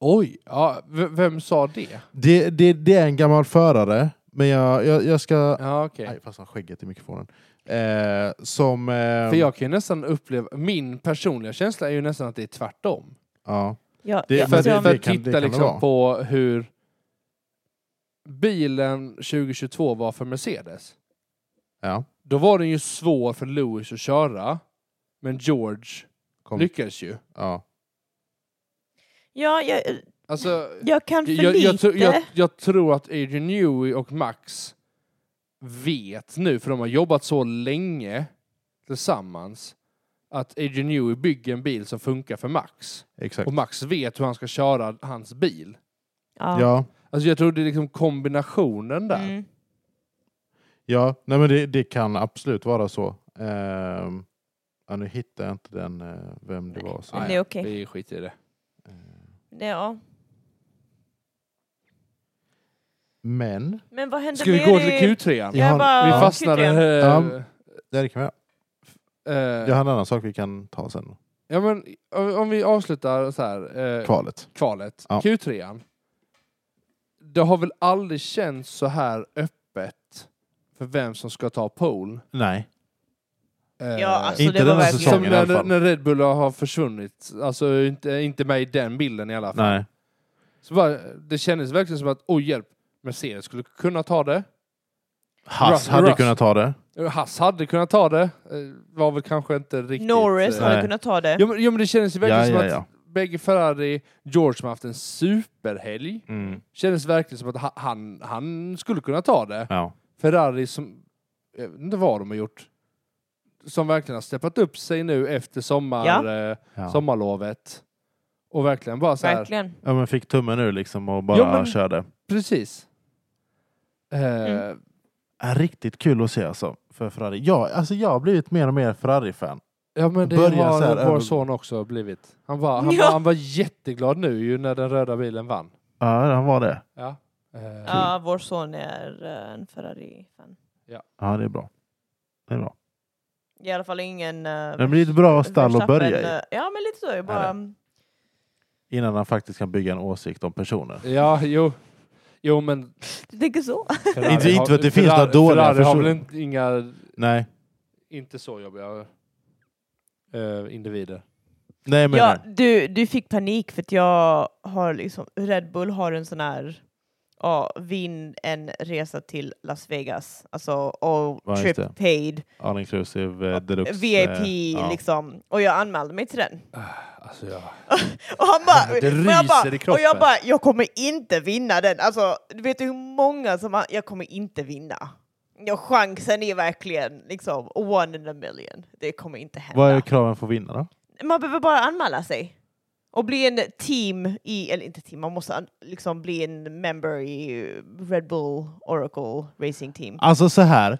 S3: Oj, ja, v- vem sa det?
S1: Det, det, det är en gammal förare, men jag, jag, jag ska...
S3: Ja, okej.
S1: Nej, fastnade skägget i mikrofonen. Eh, som... Eh,
S3: För jag kan ju nästan uppleva, min personliga känsla är ju nästan att det är tvärtom.
S1: Ja,
S2: Ja,
S1: Det-
S2: ja,
S3: för att,
S2: alltså,
S1: det-
S3: för att
S1: kan- det
S3: titta
S1: kan det
S3: liksom
S1: vara.
S3: på hur bilen 2022 var för Mercedes.
S1: ja.
S3: Då var den ju svår för Lewis att köra, men George
S1: Kom,
S3: lyckades ju.
S1: ja.
S2: ja jag,
S3: Alltså,
S2: jag kan för
S3: jag, jag,
S2: lite.
S3: tror- jag, jag tror att Adrian Newey och Max vet nu, för de har jobbat så länge tillsammans, att Adrian Newey bygger en bil som funkar för Max.
S1: Exakt.
S3: Och Max vet hur han ska köra hans bil.
S2: ja.
S1: Ja,
S3: Alltså jag tror det är liksom kombinationen där.
S2: Mm.
S1: ja. Nej, men det, det kan absolut vara så. Ehm, ja, nu hittar jag inte den, eh, vem det var.
S2: Men
S1: Som,
S2: det är okej.
S3: Vi skiter i det.
S2: Ja.
S1: men...
S2: Men vad hände
S3: Ska vi
S2: med
S3: gå
S2: det?
S3: till Q3?
S1: Ja,
S2: Jag bara,
S3: Vi
S1: Ja.
S3: fastnade...
S2: Q3.
S1: Ja.
S3: eh,
S1: Ja, det kan vi göra.
S3: eh,
S1: Jag har en annan sak vi kan ta sen.
S3: ja, men, om- om vi avslutar så här. eh,
S1: Kvalet.
S3: kvalet,
S1: Ja.
S3: Q3. Det har väl aldrig känts så här öppet för vem som ska ta pole?
S1: Nej.
S3: Eh,
S2: Ja, alltså
S1: Inte
S2: det var
S1: den här
S2: verkligen...
S1: säsongen.
S3: som
S1: i alla
S3: när,
S1: fall.
S3: när Red Bull har försvunnit. Alltså inte, inte med i den bilden i alla fall.
S1: Nej.
S3: Så bara, det kändes verkligen som att, oj hjälp, Mercedes skulle kunna ta det.
S1: Hass
S3: Russ-
S1: hade
S3: Russ.
S1: kunnat ta det.
S3: Eh, Haas hade kunnat ta det. Eh, Var väl kanske inte riktigt...
S2: Norris
S3: eh,
S1: Nej.
S2: hade kunnat ta det.
S3: Jo men, jo, men det kändes ju
S1: Ja,
S3: verkligen
S1: ja,
S3: som
S1: ja.
S3: att bägge Ferrari, George som haft en superhelg.
S1: Mm.
S3: Kändes verkligen som att ha- han, han skulle kunna ta det.
S1: Ja.
S3: Ferrari som, jag vet inte vad de har gjort, som verkligen har steppat upp sig nu efter sommar, eh,
S1: Ja.
S3: sommarlovet. Och verkligen bara så här,
S2: Verkligen.
S1: ja, men fick tummen nu liksom och bara
S3: Jo, men-
S1: körde.
S3: precis. Eh,
S2: Mm.
S1: är riktigt kul att se alltså, för Ferrari. Ja, alltså jag har blivit mer och mer Ferrari-fan.
S3: Ja men det
S1: Börja
S3: har
S1: så här
S3: vår
S1: över-
S3: son också blivit. Han var, han,
S2: Ja.
S3: var, han var jätteglad nu ju när den röda bilen vann.
S1: Ja, han var det.
S3: Ja. Eh,
S2: Ja, vår son är eh, en Ferrari-fan.
S1: Ja, det är bra. Det är bra.
S2: I alla fall ingen... eh,
S1: Det blir ett bra stall att
S2: Verstappen,
S1: börja i
S2: eh, Ja, men lite så. Jag
S1: Är
S2: bara, eh,
S1: innan han faktiskt kan bygga en åsikt om personer.
S3: ja, jo. Jo men...
S2: du tänker så.
S3: Ferrari
S1: Inte- inte för att det
S3: har-
S1: finns några
S3: Ferrari-
S1: dåliga
S3: Ferrari har
S1: personer.
S3: väl inte- inga,
S1: Nej,
S3: inte så jobbiga eh, individer.
S1: nej men
S2: Ja,
S1: nej.
S2: du, du fick panik för att jag har liksom... Red Bull har en sån här... Ja, vinn en resa till Las Vegas. Alltså,
S1: Ja,
S2: och
S1: just
S2: trip
S1: det.
S2: paid.
S1: all inclusive eh, deluxe.
S2: VIP,
S1: eh, ja.
S2: liksom. Och jag anmälde mig till den.
S3: Alltså jag...
S2: Och han bara...
S3: Det
S2: och
S3: ryser
S2: jag
S3: i
S2: bara,
S3: kroppen.
S2: och jag bara, jag kommer inte vinna den. Alltså, du vet hur många som... har- Jag kommer inte vinna. Ja, chansen är verkligen liksom one in a million. Det kommer inte hända.
S1: Vad är kraven för att vinna då?
S2: Man behöver bara anmäla sig. Och bli en team i, eller inte team, man måste an- liksom bli en member i Red Bull Oracle Racing Team.
S1: Alltså så här.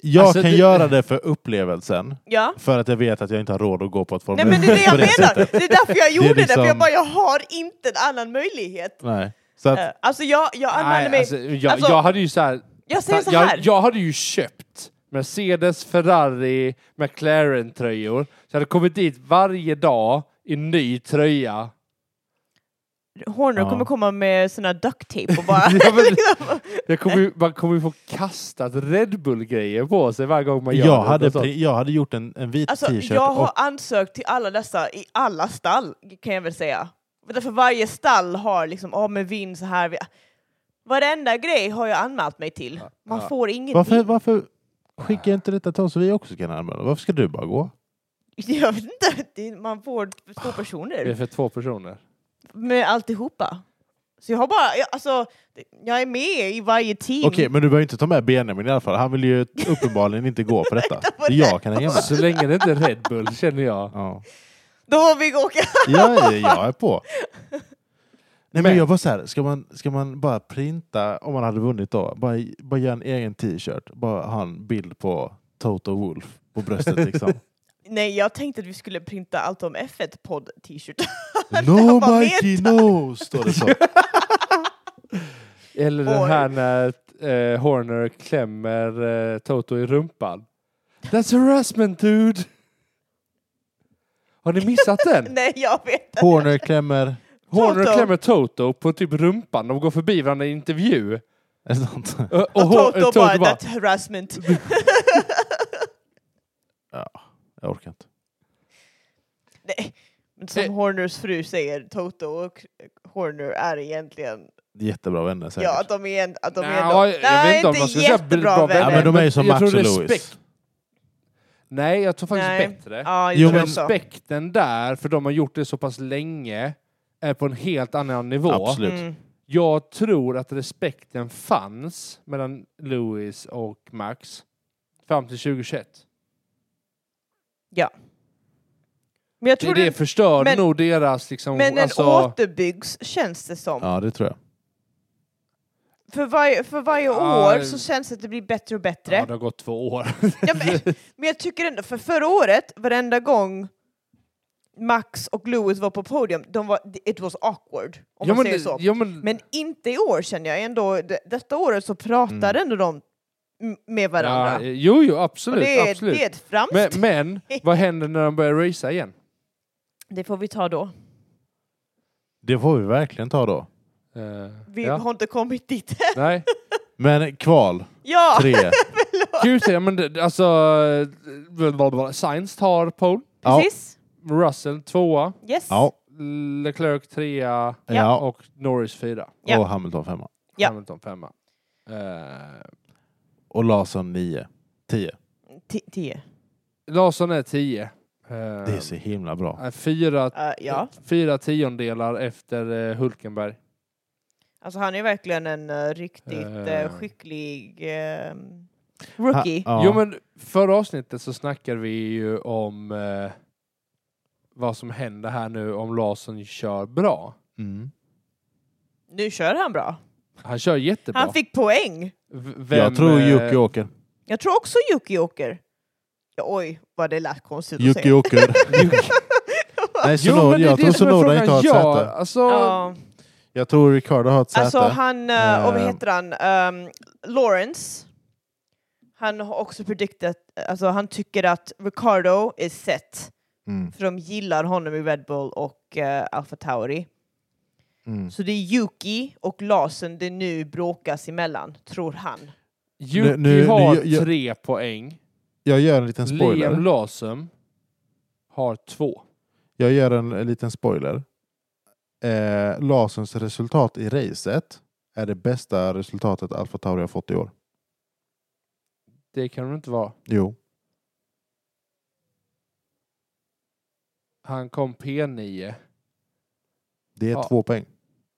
S1: Jag
S3: Alltså,
S1: kan
S3: det-
S1: göra det för upplevelsen,
S2: Ja.
S1: för att jag vet att jag inte har råd att gå på ett Formel
S2: Nej men det är det jag
S1: på
S2: menar!
S1: sättet.
S2: Det är därför jag gjorde det, för jag
S1: liksom-
S2: bara, jag har inte en annan möjlighet.
S1: Nej. Så att,
S2: Eh, Alltså jag, jag anmälde
S3: Nej,
S2: mig...
S3: alltså, jag,
S2: alltså-
S3: jag hade ju så här,
S2: jag säger så
S3: jag,
S2: här.
S3: jag hade ju köpt Mercedes, Ferrari, McLaren-tröjor. Så jag hade kommit dit varje dag i ny tröja.
S2: Horner
S1: Ja.
S2: kommer komma med såna duct tape och bara...
S3: Ja, men-
S2: liksom.
S3: Jag kommer, ju- man kommer ju få kastat Red Bull-grejer på sig varje gång man gör
S1: jag,
S3: det. Alltså,
S1: hade,
S3: Och sånt.
S1: pri- jag hade gjort en, en vit
S2: Alltså
S1: t-shirt
S2: jag har
S1: och
S2: ansökt till alla dessa i alla stall, kan jag väl säga. För varje stall har liksom, ja men vinn så här. vi- Varenda grej har jag anmält mig till. Man
S3: ja.
S2: får ingenting.
S1: Varför, varför skickar jag inte detta till oss så vi också kan anmäla? Varför ska du bara gå?
S2: Jag vet inte, det är- man får två
S3: Det är
S2: personer.
S3: för två personer.
S2: med alltihopa. Så jag har bara, jag, alltså, jag är med i varje team.
S1: Okej, men du behöver inte ta med Benjamin i alla fall. Han vill ju uppenbarligen inte gå på detta.
S2: på
S1: Det är jag kan hänga med.
S3: Så länge det inte är Red Bull känner jag.
S1: Ja.
S2: Då har vi åka.
S1: Ja, jag är på. Nej, men,
S3: Men-
S1: jag var så här, ska man, ska man bara printa, om man hade vunnit då, bara, bara göra en egen t-shirt, bara ha en bild på Toto Wolf på bröstet liksom.
S2: Nej, jag tänkte att vi skulle printa allt om F1 podd t-shirt.
S1: no
S2: Vad
S1: Mikey
S2: vet
S1: no, står det så.
S3: Eller den
S2: Oj.
S3: här när eh, Horner klämmer eh, Toto i rumpan. That's harassment dude! Har ni missat den?
S2: Nej, jag vet inte.
S1: Horner klämmer,
S3: Horner
S2: Toto.
S3: klämmer Toto på typ rumpan. De går förbi varandra i intervju.
S1: eller sånt.
S3: Eh, Och,
S2: Och
S3: Hor- eh,
S2: Toto bara, that harassment.
S1: Jag orkar inte.
S2: Nej. Men som
S3: Eh.
S2: Horners fru säger, Toto och Horner är egentligen...
S1: Jättebra vänner säkert.
S2: Ja, att de är... en- Att de är
S3: Nja,
S2: ändå-
S3: jag vet inte om man skulle säga bra
S1: ja, men de är ju som
S3: Jag
S1: Max
S3: tror
S1: och Lewis.
S3: respekt. Nej, jag tror faktiskt
S2: Nej.
S3: bättre.
S2: Ja,
S1: Jo,
S2: jo,
S1: men
S2: men
S3: Respekten där, för de har gjort det så pass länge, är på en helt annan nivå.
S1: Absolut.
S2: Mm.
S3: Jag tror att respekten fanns mellan Lewis och Max fram till 2021.
S2: Men jag
S3: Det,
S2: tror
S3: det
S2: det...
S3: förstörde
S2: men-
S3: nog deras... Liksom,
S2: Men den
S3: alltså,
S2: återbyggs, känns det som.
S1: Ja, det tror jag.
S2: För varje, för varje
S3: Ja,
S2: år så känns det att det blir bättre och bättre.
S3: ja, det har gått två år.
S2: Ja, men, men jag tycker ändå, för förra året, varenda gång Max och Lewis var på podium, de var, it was awkward, om
S3: Ja,
S2: man
S3: men-
S2: säger så.
S3: ja, men-
S2: Men inte i år känner jag ändå, det- detta året så pratar ändå de m- med
S3: Mm. ja,
S2: varandra.
S3: jo, jo,
S2: och
S3: absolut.
S2: det, är,
S3: absolut.
S2: det är ett framsteg.
S3: Men, men vad händer när de börjar racea igen?
S2: det får vi ta då.
S1: Det får vi verkligen ta då.
S3: Eh,
S2: Vi
S3: ja.
S2: har inte kommit dit än.
S3: Nej.
S1: Men kval,
S2: Ja!
S1: tre.
S3: Q3, ja, men det- alltså... eh, Sainz tar pole.
S2: Precis.
S3: Russell tvåa.
S2: Yes.
S1: Ja,
S3: Leclerc trea.
S1: ja.
S2: Ja.
S3: Och Norris fyra.
S2: Ja.
S1: Och Hamilton femma.
S2: Ja.
S3: Hamilton femma. Eh,
S1: Och Larsson nio. Tio.
S2: Ti- Tio.
S3: Larsson är tio. Eh,
S1: Det är så himla bra.
S3: eh, fyra,
S2: Eh, ja,
S3: fyra tiondelar efter eh, Hulkenberg.
S2: alltså han är verkligen en eh, riktigt eh,
S3: Eh.
S2: skicklig eh, rookie.
S1: Ha, ja.
S3: Jo men förra avsnittet så snackade vi ju om eh, vad som händer här nu om Larsson kör bra.
S1: Mm.
S2: Nu kör han bra.
S3: Han kör jättebra.
S2: Han fick poäng.
S3: V- vem,
S1: Jag tror
S3: eh,
S1: Jocke åker.
S2: Jag tror också Yuki åker. Ja, oj, vad det lät konstigt att
S1: Jocke
S2: säga.
S1: åker. Nej,
S3: Jo,
S1: Sonoda,
S3: men det är
S1: jag
S3: det
S1: tror
S3: som är
S1: Sonoda inte har ett
S3: frågan. ja,
S1: säte.
S3: Alltså,
S2: Ja,
S1: Jag tror Ricardo har ett säte.
S2: alltså han, eh, och vad
S1: Eh.
S2: heter han, Ehm, Lawrence. Han har också prediktat, alltså han tycker att Ricardo är set.
S1: mm.
S2: För de gillar honom i Red Bull och eh, Alpha Tauri.
S1: Mm.
S2: Så det är Yuki och Larsen det nu bråkas emellan, tror han.
S3: Yuki
S1: Nu- nu-
S3: har
S1: nu- jag-
S3: tre poäng.
S1: Jag gör en liten spoiler.
S3: Liam Lawson har två.
S1: Jag gör en, en liten spoiler. Eh, Larsens resultat i racet är det bästa resultatet Alfa Tauri har fått i år.
S3: Det kan det inte vara.
S1: Jo.
S3: Han kom P9.
S1: Det är
S3: Ja.
S1: två poäng.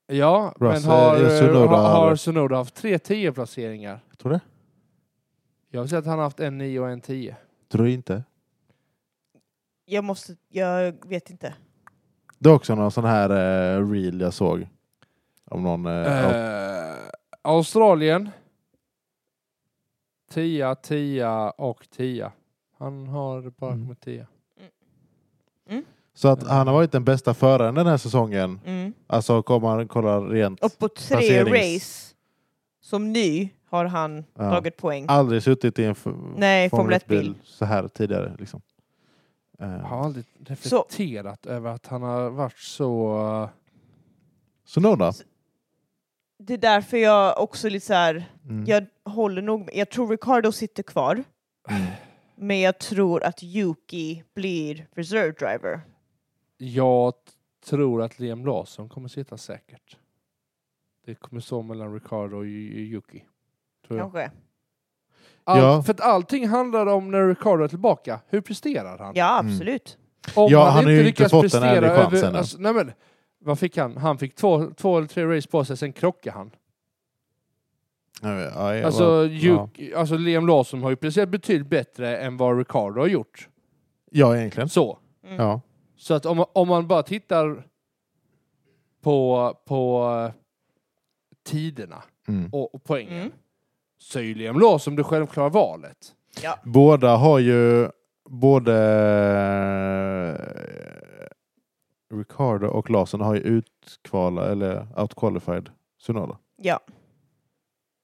S3: Ja,
S1: Russell-
S3: men har,
S1: eh, Tsunoda
S3: har, har
S1: har-
S3: Sonoda haft tre 10 placeringar?
S1: Jag tror det.
S3: Jag vill säga att han har haft en 9 och en 10.
S1: Tror du inte?
S2: Jag måste, jag vet inte.
S1: Det är också någon sån här eh, reel jag såg. Om någon... Eh, ja.
S3: Eh, Australien. 10, 10 och 10. Han har bara
S1: Mm.
S3: kommit 10.
S1: Så att han har varit den bästa föraren den här säsongen.
S2: Mm.
S1: Alltså om man kollar rent.
S2: Och på tre
S1: Placerings-
S2: race som ny har han
S1: Ja.
S2: tagit poäng.
S1: Aldrig suttit i en f-
S2: Nej, Formel 1-bil.
S1: bil så här tidigare. Liksom. Eh,
S3: Jag har aldrig reflekterat över att han har varit så... eh,
S1: Så Noda.
S2: Det är därför jag också lite så här,
S1: Mm.
S2: jag håller nog med. Jag tror Ricardo sitter kvar.
S3: Mm.
S2: Men jag tror att Yuki blir reserve driver.
S3: Jag t- tror att Liam Larsson kommer sitta säkert. Det kommer stå mellan Ricardo och Yu- Yu- Yuki. Tror jag.
S2: Kanske.
S3: Allt,
S1: Ja.
S3: För att allting handlar om när Ricardo är tillbaka. Hur presterar han?
S2: Ja,
S1: Mm.
S2: absolut.
S3: Om
S1: Ja, han har ju inte
S3: lyckas
S1: fått en ärlig
S3: prestera
S1: chans ännu.
S3: alltså, nej men, Vad fick han? Han fick två, två eller tre race på sig, sen krockade han.
S1: Ja, ja, jag
S3: Alltså,
S1: var- ja.
S3: Ju, alltså Liam Lawson har ju presterat betydligt bättre än vad Ricardo har gjort.
S1: ja, egentligen.
S3: Så.
S2: Mm.
S1: Ja.
S3: Så att om, man- om man bara tittar på, på eh, tiderna
S1: Mm.
S3: och, och poängen
S2: Mm.
S3: så är ju Liam Lawson det självklara valet.
S1: Båda har ju både eh, Ricardo och Larsson har ju utkvala eller outqualified Sunoda.
S2: Ja.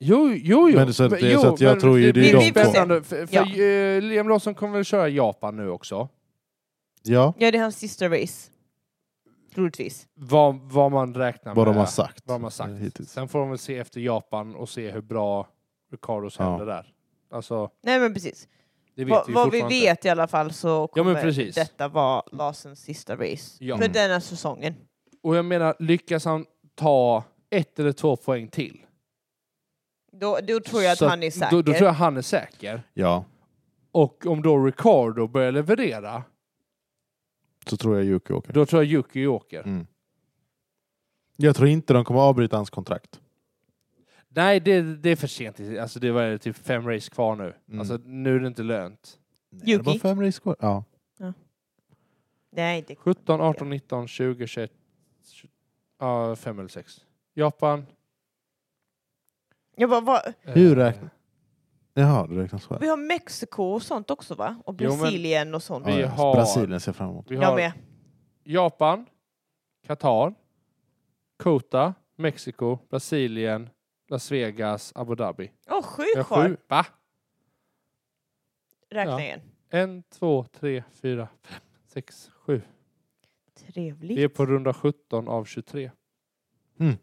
S3: Jo, jo, jo.
S1: Men så att det-
S3: jo,
S1: så att jag
S3: men
S1: tror ju det
S2: är
S3: blir
S2: de två.
S3: spännande, För, för
S2: Ja.
S3: eh, Liam Lawson kommer väl köra Japan nu också.
S1: Ja,
S2: ja, det är hans sista race. Troligtvis.
S3: Vad, vad man räknar
S1: vad
S3: med.
S1: de har sagt.
S3: vad de har sagt.
S1: Hittills.
S3: Sen får de väl se efter Japan och se hur bra Ricardos
S1: Ja.
S3: händer där. Alltså,
S2: Nej men precis.
S3: det vet
S2: Va,
S3: vi
S2: vad vi
S3: fortfarande
S2: vet i alla fall så
S3: Ja, men
S2: kommer
S3: precis.
S2: detta vara Larsens sista race.
S3: Ja.
S2: För
S1: Mm.
S2: denna säsongen.
S3: Och jag menar, lyckas han ta ett eller två poäng till
S2: Då, då tror jag att
S3: så
S2: han är säker.
S3: Då, då tror jag han är säker.
S1: Ja,
S3: Och om då Ricardo börjar leverera,
S1: så tror jag Yuki åker.
S3: då tror jag Yuki åker.
S1: Mm. Jag tror inte de kommer avbryta hans kontrakt.
S3: Nej, det, det är för sent. Alltså, det var typ fem race kvar nu.
S1: Mm.
S3: Alltså, nu är det inte lönt.
S1: Nej, Det var
S2: Yuki?
S1: fem race kvar. Ja.
S2: Nej, det...
S3: 17, 18, 19, 20, 21, 20, ja, fem eller sex. Japan.
S2: jag bara, vad-
S1: Hur
S3: eh,
S1: räknar- Jaha, det räknas själv.
S2: vi har Mexiko och sånt också va? Och
S3: Jo, men-
S2: Brasilien och sånt.
S1: Ja,
S3: vi
S1: ja.
S3: har-
S1: Brasilien ser jag fram emot.
S3: Vi
S2: Jag
S3: har
S2: med.
S3: Japan, Qatar, Kota, Mexiko, Brasilien, Las Vegas, Abu Dhabi.
S2: Åh, sju
S3: Vi har
S2: kvar!
S3: sju. Va?
S2: Räkna
S3: Ja.
S2: igen.
S3: En, två, tre, fyra, fem, sex, sju.
S2: Trevligt.
S3: Vi är på runda 17 av 23.
S1: Mm.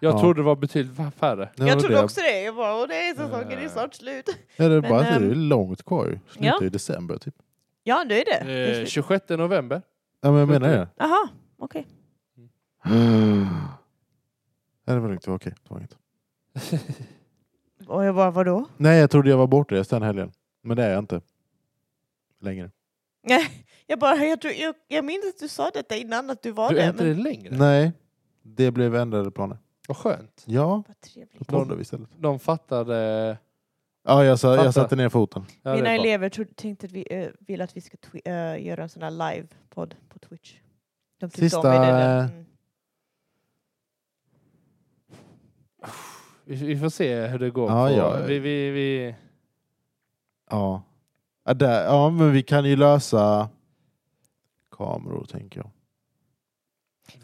S3: Jag
S1: Ja.
S3: trodde det var betydligt fa- färre.
S1: Det
S2: Jag
S1: var
S2: trodde
S1: det.
S2: också det. Jag bara, åh nej, säsongen är
S3: Eh.
S2: snart slut.
S1: Ja, det, är
S2: Men,
S1: bara, att det är
S2: ehm,
S1: långt kvar ju. Slutar i december typ.
S2: Ja, det är det. det. är
S3: Eh,
S2: slut.
S3: 26 november.
S1: Ja, men jag menar det.
S2: Aha, okej.
S1: Ja, det var lugnt, det var okej. Det var inget.
S2: Och jag bara, vadå?
S1: Nej, jag trodde jag var bortrest den helgen. Men det är jag inte. Längre.
S2: Nej, jag bara, jag, tror, jag, jag minns att du sa detta innan att du var
S3: Du är
S2: där.
S3: inte
S2: Men...
S3: det längre?
S1: Nej, det blev ändrade planer.
S3: Vad skönt.
S1: Ja,
S2: Vad
S1: då
S2: trevligt.
S1: planerade vi istället.
S3: De fattade...
S1: Ja, jag, sa,
S3: Fattar.
S1: jag satte ner foten.
S3: Ja, det
S2: Mina
S3: är bra.
S2: elever tro, tänkte att vi eh, ville att vi ska twi- eh, göra en sån här live-podd på Twitch. De tyckte
S1: Sista,
S2: om det där.
S1: eh,
S2: Mm.
S3: vi, vi får se hur det går.
S1: Ja,
S3: på.
S1: ja.
S3: Vi, vi, vi...
S1: Ja. Ja, där, ja, men vi kan ju lösa kameror, tänker jag.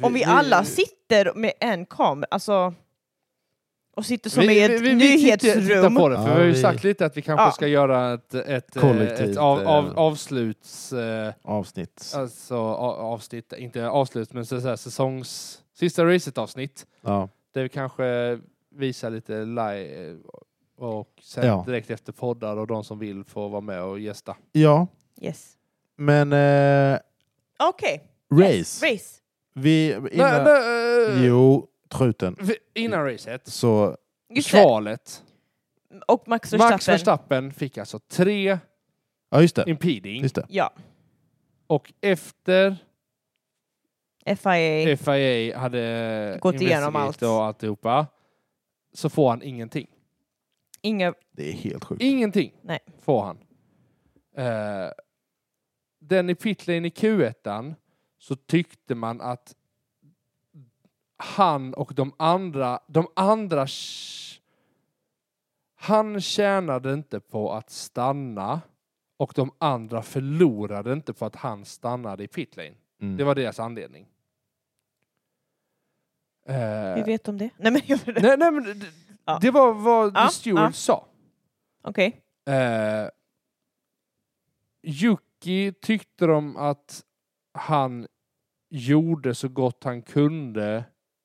S2: Om vi alla sitter med en kamera, alltså och sitter som i ett
S3: Vi tittar- tittar
S2: nyhetsrum.
S3: på det, för
S1: Ja,
S3: vi har ju
S1: vi-
S3: sagt lite att vi kanske
S2: Ja.
S3: ska göra ett, ett, eh,
S1: Kollektivt,
S3: ett av, av,
S1: eh,
S3: avsluts... Eh,
S1: Avsnitt.
S3: alltså a- avsnitt, inte avslut, men så, så här, säsongs... Sista racet-avsnitt,
S1: Ja.
S3: där vi kanske visar lite live och sen
S1: Ja.
S3: direkt efter poddar och de som vill får vara med och gästa.
S1: ja,
S2: Yes.
S1: men eh,
S2: Okej.
S1: race.
S2: Race.
S1: Vi,
S3: Nej,
S1: innan,
S3: nej, eh,
S1: jo, truten.
S3: vi- Innan racet,
S1: Så
S2: Just det.
S3: kvalet.
S2: Och Max Verstappen.
S3: Max Verstappen fick alltså tre
S1: Ja, just det.
S3: impeding
S1: Just det.
S2: Ja.
S3: och efter
S2: FIA.
S3: FIA hade
S2: Gått igenom
S3: investigate
S2: allt.
S3: och alltihopa så får han ingenting.
S2: Inga...
S1: Det är helt sjukt.
S3: Ingenting
S2: Nej.
S3: får han. Eh, den i pitlane i Q1 så tyckte man att han och de andra, de andra sh- han tjänade inte på att stanna och de andra förlorade inte på att han stannade i pitlane.
S1: Mm.
S3: Det var deras anledning. Eh,
S2: Vi vet om det. Nej men jag... Okej.
S3: nej, nej, men det,
S2: Ja.
S3: det var vad
S2: Ja,
S3: The Steward
S2: ja.
S3: sa. Eh, Yuki tyckte de att han gjorde så gott han kunde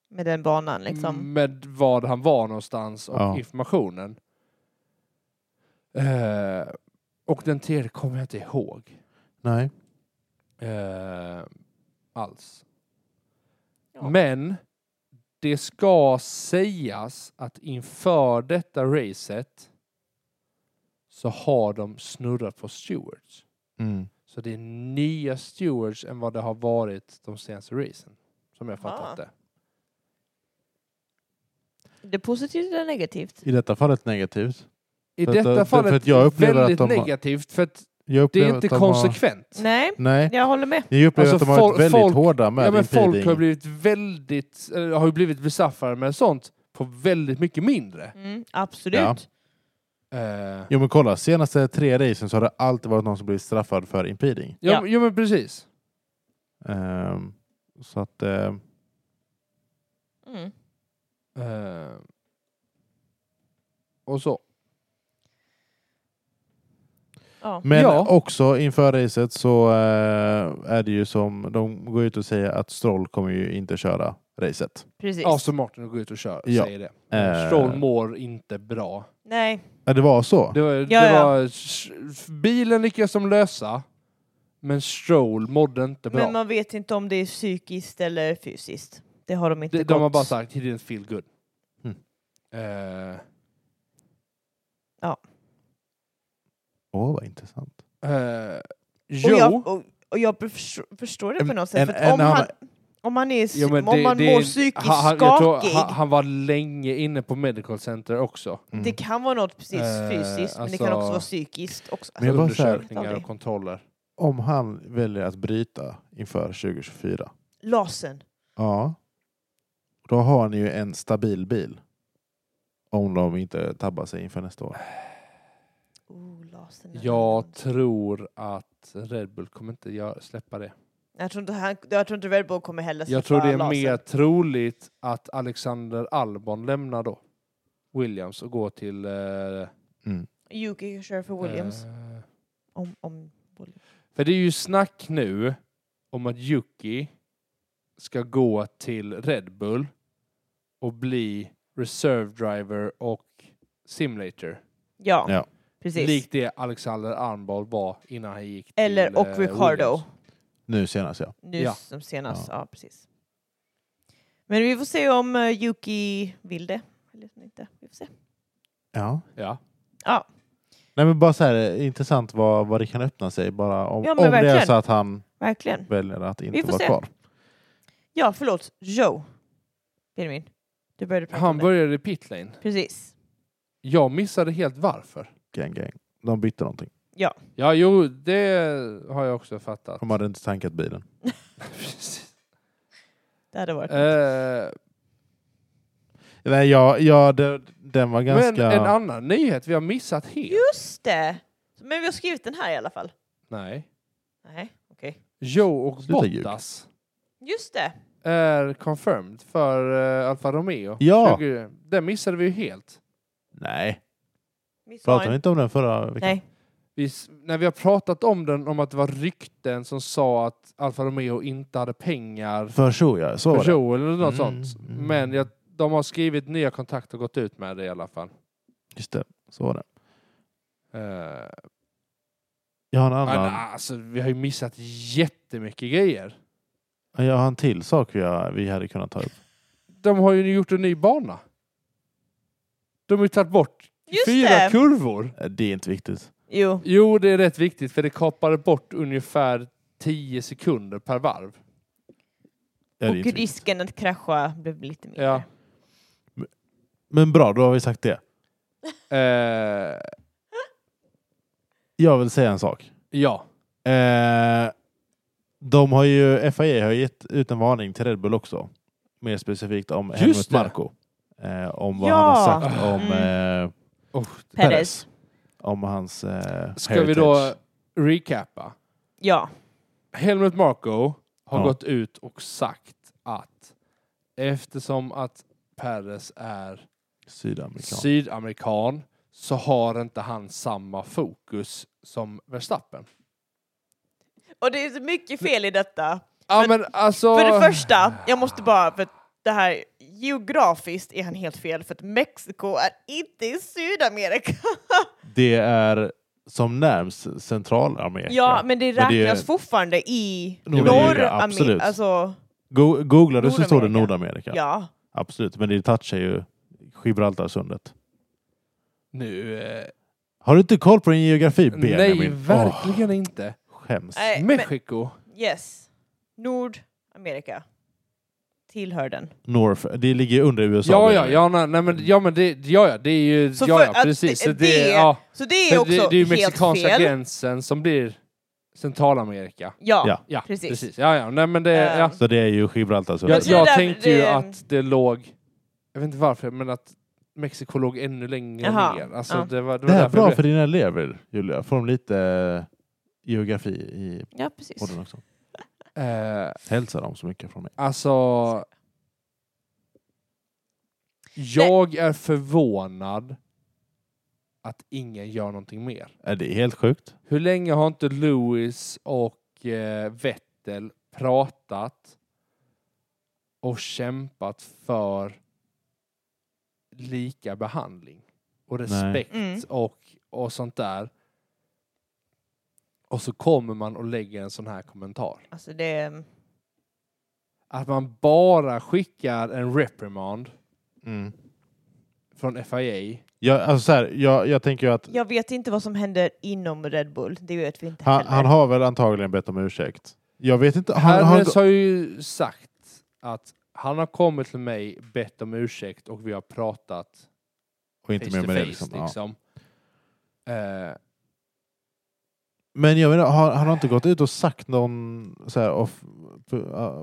S2: Med den banan liksom.
S3: med vad han var någonstans och
S1: Ja.
S3: informationen. Eh, och den tredje kommer jag inte ihåg
S1: Nej.
S3: eh, alls.
S2: Ja.
S3: Men det ska sägas att inför detta racet så har de snurrat på stewards.
S1: Mm.
S3: Så det är nya stewards än vad det har varit de senaste racen. Som jag
S2: Aha.
S3: fattat det.
S2: Det är positivt eller negativt?
S1: I detta fallet negativt.
S3: I
S1: För att- eh, för-
S3: detta fallet
S1: för att jag upplever att
S3: väldigt
S1: de har-
S3: negativt för att
S1: Jag
S3: det
S1: upplever
S3: är
S1: att
S3: inte
S1: de
S3: konsekvent.
S2: Nej,
S1: Har, nej,
S2: jag håller med.
S1: jag upplever
S3: Alltså,
S1: att de har varit
S3: fol-
S1: väldigt
S3: folk-
S1: hårda med
S3: Ja, men folk har
S1: impeding.
S3: blivit väldigt, eller har ju blivit besaffade med sånt på väldigt mycket mindre.
S2: Mm, absolut.
S1: Ja.
S3: Eh, ja.
S1: Jo men kolla, senaste tre racen så har det alltid varit någon som blivit straffad för impeding.
S2: Ja.
S3: Jo men precis.
S1: Ehm, så att, ehm,
S2: Mm.
S3: Eh, och så.
S2: Ja.
S1: men
S3: Ja.
S1: också inför racet så eh, är det ju som de går ut och säger att Stroll kommer ju inte köra racet.
S2: Precis.
S3: Aston Martin går ut och kör,
S1: Ja.
S3: säger det.
S1: Eh,
S3: Stroll mår inte bra.
S2: Nej.
S1: ja, det var så.
S3: Det var, det
S2: ja.
S3: var s- bilen lyckades de lösa, men Stroll mådde inte bra.
S2: Men man vet inte om det är psykiskt eller fysiskt. Det har de inte
S3: de, de har
S2: gått-
S3: bara sagt he didn't feel good.
S1: Mm.
S3: Eh,
S1: Åh vad intressant.
S3: eh,
S2: Och
S3: jo,
S2: jag, och, och jag förstår, förstår det på något sätt.
S1: en-
S2: för att
S1: en
S2: om, han,
S1: annan-
S2: om man, är,
S3: jo, men
S2: om
S3: det-
S2: man
S3: det-
S2: mår psykiskt
S3: han, han, jag tror
S2: skakig,
S3: han, han var länge inne på medical center också.
S1: Mm.
S2: det kan vara något precis
S3: Eh,
S2: fysiskt, men det kan
S3: alltså-
S2: också vara psykiskt. Också.
S1: Men jag bara så här-
S3: undersökningar och kontroller.
S1: Om han väljer att bryta inför 2024,
S2: Lasen.
S1: ja, då har han ju en stabil bil. Om de inte tabbar sig inför nästa år.
S2: Oh, lasen är
S3: Jag
S2: annorlunda.
S3: tror att Red Bull kommer inte gö- släppa det.
S2: jag, tror inte han, jag tror inte Red Bull kommer heller
S3: Jag
S2: släppa
S3: tror det är
S2: lasen.
S3: mer troligt att Alexander Albon lämnar då Williams och går till eh,
S1: Mm.
S2: Yuki kan köra för Williams.
S3: eh,
S2: Om, om Williams.
S3: För det är ju snack nu om att Yuki ska gå till Red Bull och bli reserve driver och simulator.
S2: Ja,
S1: Ja.
S2: precis.
S3: Likt det Alexander Armbold var innan han gick till
S2: Eller och
S3: eh,
S2: Ricardo.
S3: Williams.
S1: Nu senast ja.
S2: Nu
S3: Ja.
S2: som senast. Ja. precis. Men vi får se om eh, Yuki vill det. Eller inte. Vi får se.
S1: ja.
S3: Ja.
S1: Nej men bara så här, eh, intressant vad, vad det kan öppna sig bara om,
S2: Ja, men
S1: om det är
S2: verkligen.
S1: så att han
S2: Verkligen.
S1: väljer att inte
S2: får
S1: vara
S2: se.
S1: kvar.
S2: Ja, förlåt. Joe. Benjamin. Du började prata
S3: Han
S2: om det.
S3: började i pitlane.
S2: Precis.
S3: Jag missade helt varför.
S1: Gang, gang. De bytte någonting.
S3: Ja, jo, det har jag också fattat.
S1: De hade inte tankat bilen.
S3: Precis.
S2: Det hade varit
S3: Eh,
S1: Nej, ja, ja det, den var
S3: Men
S1: ganska...
S3: en annan nyhet vi har missat helt.
S2: Just det! Men vi har skrivit den här i alla fall.
S3: Nej.
S2: Nej, okej.
S3: Joe och
S1: Sluta ljug.
S3: Bottas.
S2: Just det!
S3: är confirmed för eh, Alfa Romeo.
S1: Ja.
S3: 20, den missade vi ju helt.
S1: Nej,
S2: Miss
S1: pratade vi
S2: Warren.
S1: inte om den förra veckan?
S2: Nej.
S3: Vi, s- när vi har pratat om den, om att det var rykten som sa att Alfa Romeo inte hade pengar
S1: För så ja, så var
S3: för
S1: det.
S3: Joel eller något
S1: Mm,
S3: sånt.
S1: mm.
S3: Men jag, de har skrivit nya kontrakt och gått ut med det i alla fall.
S1: Just det, så var det.
S3: Eh,
S1: Jag har en
S3: men,
S1: annan...
S3: alltså, vi har ju missat jättemycket grejer. ah.
S1: Jag har en till sak vi, har, vi hade kunnat ta upp.
S3: De har ju gjort en ny bana. De har ju tagit bort
S2: Just
S3: fyra
S2: det!
S3: kurvor.
S1: Eh, Det är inte viktigt.
S2: Jo.
S3: Jo, det är rätt viktigt för det kapade bort ungefär 10 sekunder per varv.
S1: Ja, det är
S2: Och
S1: inte viktigt.
S2: risken att krascha blev lite mindre.
S3: Ja.
S1: Men bra, då har vi sagt det.
S3: Eh,
S1: Jag vill säga en sak.
S3: ja.
S1: Eh, de har ju, FIA har gett ut en varning till Red Bull också. Mer specifikt om
S3: Just
S1: Helmut
S3: det.
S1: Marko. Eh, om vad
S2: Ja.
S1: han har sagt om
S3: Mm.
S1: eh,
S2: Perez.
S1: Perez. Om hans eh,
S3: Oh, Ska
S1: heritage.
S3: vi då recappa?
S2: Ja.
S3: Helmut Marko har
S1: Ja.
S3: gått ut och sagt att eftersom att Perez är
S1: Sydamerikan.
S3: sydamerikan så har inte han samma fokus som Verstappen.
S2: Och det är så mycket fel i detta.
S3: Ja
S2: Men-
S3: men alltså...
S2: För det första, jag måste bara, för att det här geografiskt är han helt fel för att Mexiko är inte i Sydamerika.
S1: Det är som närmst Centralamerika.
S2: Ja, men det
S1: Men
S2: räknas
S1: det är-
S2: fortfarande i
S1: Nordamerika,
S2: Nordamerika.
S1: absolut.
S2: Alltså,
S1: Go- Googlar du så står det
S2: ja.
S1: Nordamerika. Absolut, men det touchar ju Gibraltarsundet.
S3: Nu... Eh,
S1: Har du inte koll på din geografi, Benjamin?
S3: nej,
S1: Åh,
S3: verkligen inte.
S1: skäms.
S2: Nej, men-
S3: Mexiko.
S2: Yes. Nordamerika. tillhör den.
S1: North, det ligger under USA.
S3: Ja,
S1: det
S3: ja,
S1: är-
S3: ja, nej, nej, men, ja, men det, ja, ja, det är ju,
S2: Så
S3: ja,
S2: för
S3: ja,
S2: att
S3: precis.
S2: det-
S3: Det,
S2: det-
S3: det, ja,
S2: Så det är
S3: men
S2: också
S3: det, det är ju
S2: helt
S3: mexikanska
S2: fel.
S3: gränsen som blir Centralamerika.
S2: Ja.
S1: Ja.
S3: Ja,
S2: Precis.
S3: precis. Ja, ja, nej, men det,
S2: Ehm.
S3: ja.
S1: Så det är ju Gibraltar. Så
S3: Jag,
S2: tror
S3: jag
S2: där-
S3: tänkte ju
S2: det-
S3: att det låg, jag vet inte varför, men att Mexiko låg ännu längre
S2: Jaha,
S3: ner. Alltså,
S2: ja.
S3: det, var,
S1: det
S3: det, var
S1: här är
S3: därför
S1: bra
S3: jag
S1: för
S3: blev-
S1: dina elever, Julia. Får de lite eh, geografi i
S2: ja, precis.
S1: podden också.
S3: Eh,
S1: Hälsa dem så mycket från mig.
S3: Alltså... Jag är förvånad att ingen gör någonting mer.
S1: Är Äh, det är helt sjukt?
S3: Hur länge har inte Lewis och eh, Vettel pratat och kämpat för lika behandling och respekt
S2: Mm.
S3: och, och sånt där? Och så kommer man och lägger en sån här kommentar.
S2: Alltså det,
S3: Att man bara skickar en reprimand
S1: Mm.
S3: från FIA.
S1: Jag, alltså så här, jag, jag tänker ju att
S2: jag vet inte vad som händer inom Red Bull. Det vet vi inte
S1: han,
S2: heller.
S1: han har väl antagligen bett om ursäkt. Jag vet inte. Han, han,
S3: Harris har ju sagt att han har kommit till mig, bett om ursäkt och vi har pratat
S1: och
S3: face
S1: inte mer
S3: to
S1: med det,
S3: face.
S1: liksom.
S3: Liksom.
S1: Ja.
S3: Eh,
S1: Men jag menar, har, han har inte gått ut och sagt någon så här, off, uh,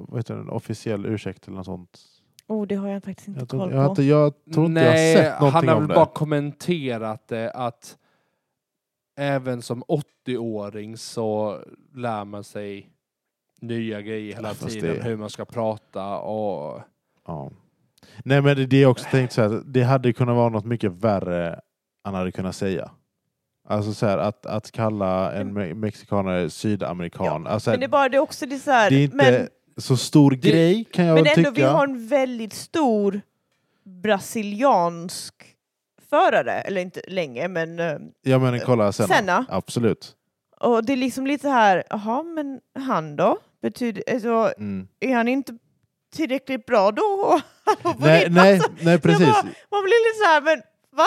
S1: vad heter det, en officiell ursäkt eller något sånt?
S2: Oh, det har jag faktiskt inte
S1: Jag tror,
S2: koll
S1: jag, har
S2: på.
S1: inte, jag tror inte
S3: nej,
S1: jag har sett
S3: han
S1: någonting
S3: har
S1: om
S3: väl
S1: det.
S3: bara kommenterat det att även som 80-åring så lär man sig nya grejer hela
S1: Ja, fast
S3: tiden,
S1: det-
S3: hur man ska prata och...
S1: Ja. Nej men det, det är också tänkt så här, det hade kunnat vara något mycket värre han hade kunnat säga. Alltså så här, att, att kalla en me mexikanare sydamerikan. alltså,
S2: Men det är bara det är också det är så här,
S1: det är inte
S2: men,
S1: så stor grej kan jag
S2: men
S1: väl
S2: ändå vi
S1: tycka.
S2: har en väldigt stor brasiliansk förare, eller inte länge, men eh,
S1: Ja men kolla Senna.
S2: Senna.
S1: Absolut.
S2: och det är liksom lite så här, jaha, men han då? Betyder, alltså,
S1: Mm.
S2: är han inte tillräckligt bra då? Han har
S1: Nej,
S2: vunnit
S1: nej,
S2: massa-
S1: nej precis.
S2: alltså, bara- Man blir lite så här, men va?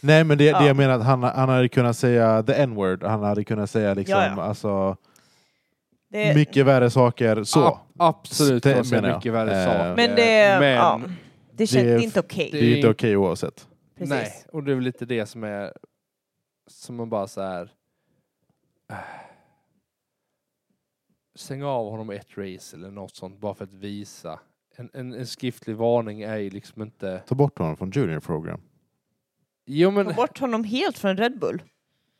S1: Nej men det,
S2: Ja.
S1: det jag menar att han, han hade kunnat säga the n-word. Han hade kunnat säga liksom
S2: Ja, ja.
S1: Alltså,
S2: Det,
S1: mycket värre saker. Så.
S3: Ab- absolut, det
S1: Stämmer
S3: var så
S1: jag.
S3: mycket värre
S1: Eh,
S3: saker.
S2: Men det,
S3: Men-
S2: ja, det känns
S1: det-
S2: inte okej.
S1: det är ju inte okej oavsett.
S2: Precis.
S3: Nej, och det är väl lite det som är som man bara så här. äh, Sänga av honom ett race eller något sånt bara för att visa. En, en, en skriftlig varning är ju liksom inte...
S1: Ta bort honom från junior program.
S3: Jo
S2: Ta
S3: men,
S2: bort honom helt från Red Bull.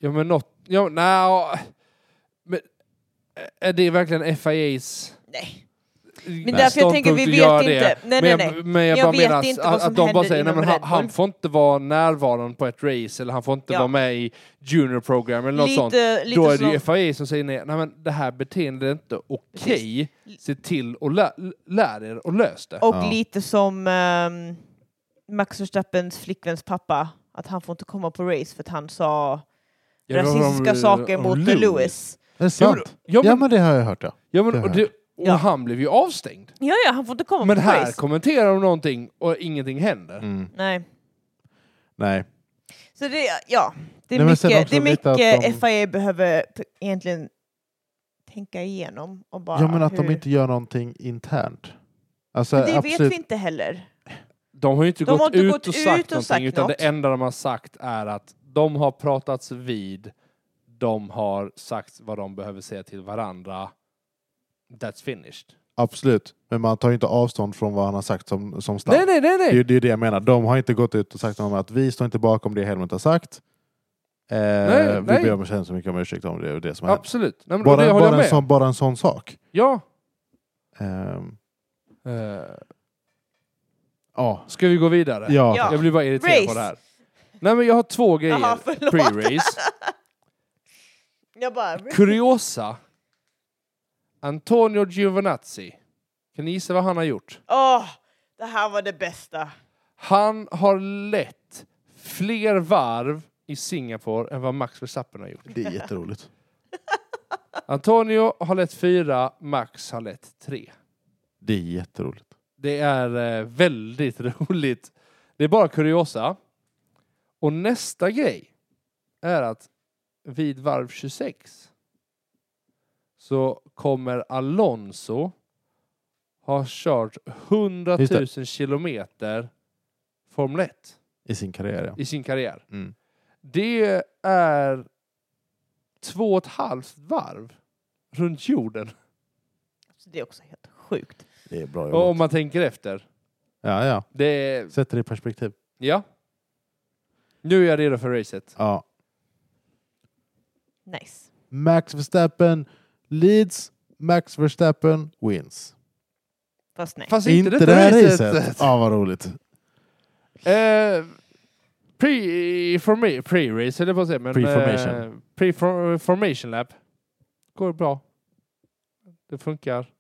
S3: jo, men något... Jo, nej, men är det verkligen FIAs
S2: Nej. Men
S3: Nej.
S2: därför jag tänker, vi
S3: ståndpunkt
S2: vet
S3: att göra
S2: inte.
S3: det?
S2: Nej,
S3: men
S2: nej,
S3: jag,
S2: nej.
S3: Men jag,
S2: Jag
S3: bara
S2: vet
S3: menar att,
S2: inte vad
S3: att,
S2: som
S3: att de bara
S2: händer
S3: säger nej,
S2: inom
S3: men han,
S2: Red
S3: han
S2: Bull."
S3: får inte vara närvarande på ett race eller han får inte
S2: Ja.
S3: vara med i junior program eller något sånt.
S2: Lite, lite
S3: Då är det
S2: som,
S3: ju FIA som säger nej, nej men det här beteendet är inte okej. Se till och lä- lär er och lös det.
S2: och
S1: Ja.
S2: lite som ehm, Max Verstappens flickväns pappa, att han får inte komma på race för att han sa
S3: Ja, det var
S2: rasistiska
S3: om-
S2: saker
S3: om
S2: mot
S3: Lewis.
S2: Lewis.
S1: Är det sant?
S3: Ja
S1: Ja
S3: men,
S1: men det har jag hört ja.
S3: ja, men
S1: det
S3: och,
S1: här.
S3: det, och
S2: Ja.
S3: han blev ju avstängd.
S2: Ja, ja, han får inte komma
S3: Men
S2: på
S3: här
S2: race.
S3: kommenterar de någonting och ingenting händer.
S2: Nej.
S1: Mm. Nej.
S2: Så det, ja, det är
S1: Nej, men sen
S2: mycket,
S1: också
S2: det är
S1: lite att
S2: mycket
S1: de-
S2: FIA behöver p- egentligen tänka igenom och bara
S1: Ja men att
S2: hur...
S1: de inte gör någonting internt. Alltså,
S2: Men det
S1: absolut.
S2: vet vi inte heller.
S3: De har ju inte
S2: De har
S3: gått
S2: inte
S3: ut
S2: gått
S3: och
S2: ut
S3: sagt
S2: och
S3: någonting
S2: sagt
S3: utan
S2: något.
S3: det enda de har sagt är att de har pratats vid, de har sagt vad de behöver säga till varandra. That's finished.
S1: Absolut. Men man tar ju inte avstånd från vad han har sagt som, som stam.
S3: Nej, nej, nej,
S1: Det är
S3: nej.
S1: ju det, är ju det jag menar. De har inte gått ut och sagt om att vi står inte bakom det Helmut har sagt. Eh, vi
S3: nej.
S1: ber om så hemskt mycket om ursäkt om det och det som har hänt.
S3: Absolut. Nej, men det
S1: Bara,
S3: håller jag
S1: bara, en
S3: med.
S1: sån, bara en sån sak.
S3: Ja.
S1: Ehm,
S3: Eh,
S1: ja.
S3: Ska vi gå vidare?
S1: Ja.
S2: Ja.
S1: tack.
S3: Jag blir bara irriterad
S2: Race.
S3: på det här. Nej men jag har två grejer
S2: Jaha, förlåt.
S3: pre-race.
S2: Jag bara...
S3: Kuriosa. Antonio Giovinazzi. Kan ni gissa vad han har gjort?
S2: Åh, det här var det bästa.
S3: Han har lett fler varv i Singapore än vad Max Verstappen har gjort.
S1: Det är jätteroligt.
S3: Antonio har lett fyra, Max har lett tre.
S1: Det är jätteroligt.
S3: Det är eh, väldigt roligt. Det är bara kuriosa. Och nästa grej är att vid varv 26 så kommer Alonso har kört 100
S1: Just
S3: 000
S1: det.
S3: kilometer Formel 1
S1: I sin karriär, ja.
S3: i sin karriär.
S1: Mm.
S3: Det är två och ett halvt varv runt jorden.
S2: Så Alltså, det är också helt sjukt.
S1: Det är bra
S3: Om
S1: jobbat.
S3: man tänker efter.
S1: Ja, ja.
S3: Det är,
S1: Sätter det i perspektiv.
S3: ja. Nu är jag redo för racet.
S1: Ja.
S2: Nice.
S1: Max Verstappen leads. Max Verstappen wins.
S2: Fast nej.
S3: Fast
S1: Inte,
S3: inte,
S1: det här
S3: racet.
S1: racet. Ja, vad roligt.
S3: Eh, pre, formi- pre-race höll jag på att säga. Men,
S1: Pre-formation.
S3: Eh, pre-formation lab. Går bra. Det funkar.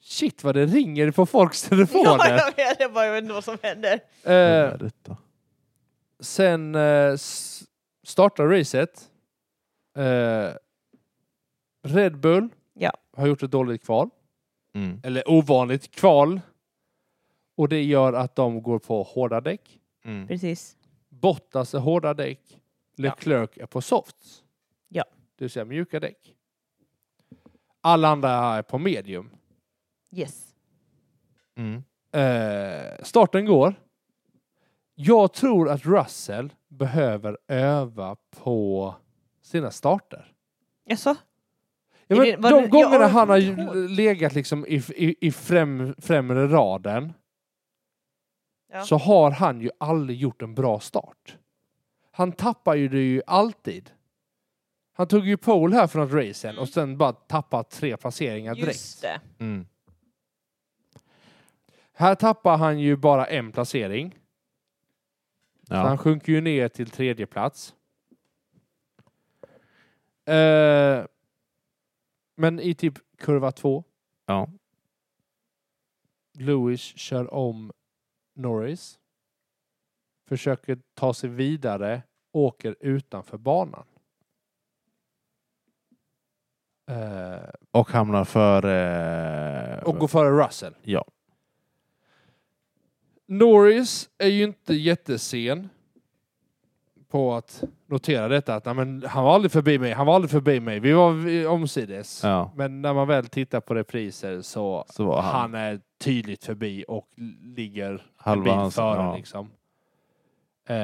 S3: Shit vad det ringer på folks telefoner.
S2: Ja, jag vet, jag bara jag vet inte vad som händer.
S1: Vad
S3: eh,
S1: är detta?
S3: sen eh, s- startar racet. Eh, Red Bull
S2: Ja.
S3: har gjort ett dåligt kval.
S1: Mm.
S3: Eller ovanligt kval. Och det gör att de går på hårda däck.
S1: Mm.
S2: Precis.
S3: Bottas är hårda däck. Leclerc är på softs.
S2: Ja.
S3: Det vill säga mjuka däck. Alla andra är på medium.
S2: Yes.
S1: Mm.
S3: Eh, starten går. Jag tror att Russell behöver öva på sina starter.
S2: Jaså?
S3: Ja,
S2: Är
S3: men
S2: det- var
S3: de
S2: det-
S3: gångerna
S2: jag
S3: han har
S2: kommer inte ihåg.
S3: legat liksom i, i, i främ, främre raden
S2: Ja.
S3: så har han ju aldrig gjort en bra start. Han tappar ju det ju alltid. Han tog ju pole här för något race sen
S2: Mm.
S3: och sen bara tappat tre placeringar direkt.
S2: Just det.
S1: Mm.
S3: Här tappar han ju bara en placering. Så han
S1: Ja.
S3: sjunker ju ner till tredje plats. Eh, men i typ kurva två
S1: Ja.
S3: Lewis kör om Norris. Försöker ta sig vidare, åker utanför banan. Eh,
S1: Och hamnar före...
S3: och går före Russell.
S1: Ja.
S3: Norris är ju inte jättesen på att notera detta. Att, "Nej, men, han var aldrig förbi mig, han var aldrig förbi mig. Vi var vi- omsides.
S1: ja.
S3: Men när man väl tittar på repriser så
S1: Så var han,
S3: han är tydligt förbi och ligger
S1: halva
S3: bil
S1: hans...
S3: före
S1: ja.
S3: liksom. Eh,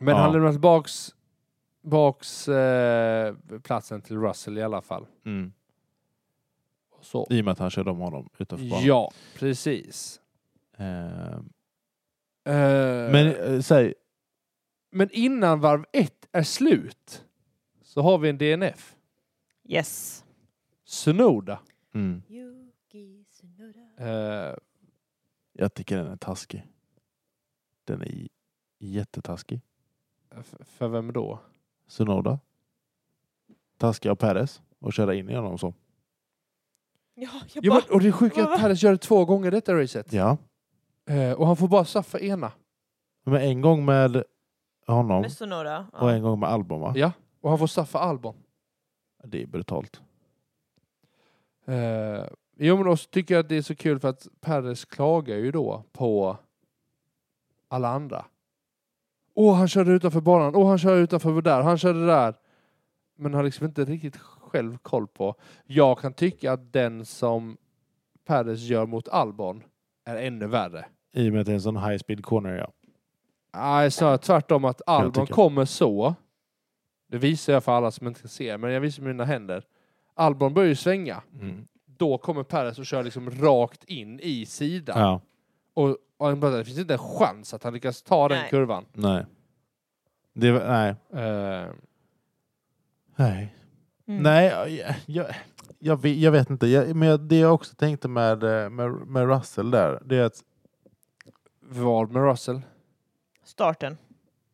S3: men
S1: Ja.
S3: han lämnar tillbaks, baks, eh, platsen till Russell i alla fall.
S1: mm.
S3: Så.
S1: I och med att han körde om honom utanför banan.
S3: Ja, precis.
S1: Eh,
S3: Eh,
S1: men
S3: men,
S1: eh, säg...
S3: innan varv ett är slut så har vi en DNF.
S2: Yes.
S3: Sunoda.
S1: Mm.
S2: Yuki Tsunoda.
S3: Eh,
S1: Jag tycker den är taskig. Den är j- jättetaskig.
S3: f- för vem då?
S1: Sunoda. Taskig av Perez och köra in i honom så.
S2: Ja, jag
S3: Jo,
S2: bara...
S3: men, och det sjuka är
S2: Va, va?
S3: att Perez gör det två gånger detta racet.
S1: Ja.
S3: Eh, och han får bara straffa ena.
S1: Men en gång med honom
S2: Med Sonora.
S1: och
S2: Ja.
S1: en gång med Albon va?
S3: Ja, och han får straffa Albon.
S1: Det är brutalt.
S3: Uh, jo men också tycker jag att det är så kul för att Perres klagar ju då på alla andra. Åh, han körde utanför banan. Åh, han körde utanför där. Han körde där. Men har liksom inte riktigt själv koll på. Jag kan tycka att den som Perres gör mot Albon är ännu värre.
S1: I och med att det är en sån high speed corner ja.
S3: Nej, snarare tvärtom att Albon
S1: tycker-
S3: kommer så. Det visar jag för alla som inte ser, men jag visar med mina händer. Albon börjar ju svänga.
S1: Mm.
S3: Då kommer Perres och kör liksom rakt in i sidan.
S1: Ja.
S3: Och, och han bara, det finns inte en chans att han lyckas ta den
S2: Nej.
S3: kurvan.
S1: Nej. Det var, nej.
S3: Eh,
S1: Nej.
S2: Mm.
S1: Nej, jag, jag, jag, vet, jag vet inte. Jag, men jag, det jag också tänkte med, eh, med, med Russell där, det är att
S3: vad med Russell?
S2: Starten.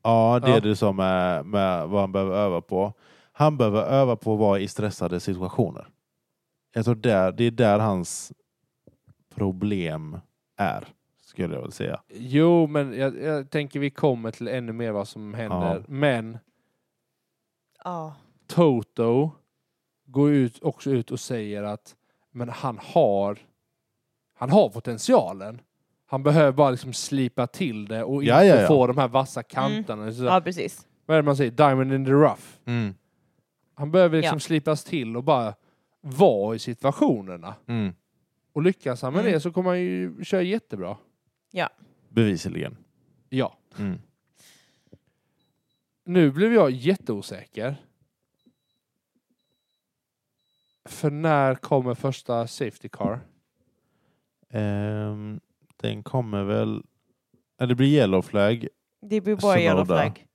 S1: ja, det
S3: Ja.
S1: är det som är med vad han behöver öva på. Han behöver öva på att vara i stressade situationer. Jag tror där, det är där hans problem är, skulle jag vilja säga.
S3: Jo, men jag, jag tänker vi kommer till ännu mer vad som händer.
S1: Ja.
S3: Men
S2: Ja.
S3: Toto går ut, också ut och säger att men han har han har potentialen. Han behöver bara liksom slipa till det och
S1: Ja,
S3: inte
S1: ja, ja.
S3: få de här vassa kanterna. Så,
S2: ja, precis.
S3: Vad är det man säger? Diamond in the rough.
S1: Mm,
S3: Han behöver liksom
S2: Ja.
S3: slipas till och bara vara i situationerna.
S1: Mm.
S3: Och lyckas han med
S2: Mm.
S3: det så kommer han ju köra jättebra.
S1: Bevisligen.
S3: Ja.
S1: Mm.
S3: Nu blev jag jätteosäker. För när kommer första Safety Car?
S1: Ehm, den kommer väl... Ja, det blir yellow flag.
S2: Det blir bara yellow
S1: Sonoda.
S2: flag.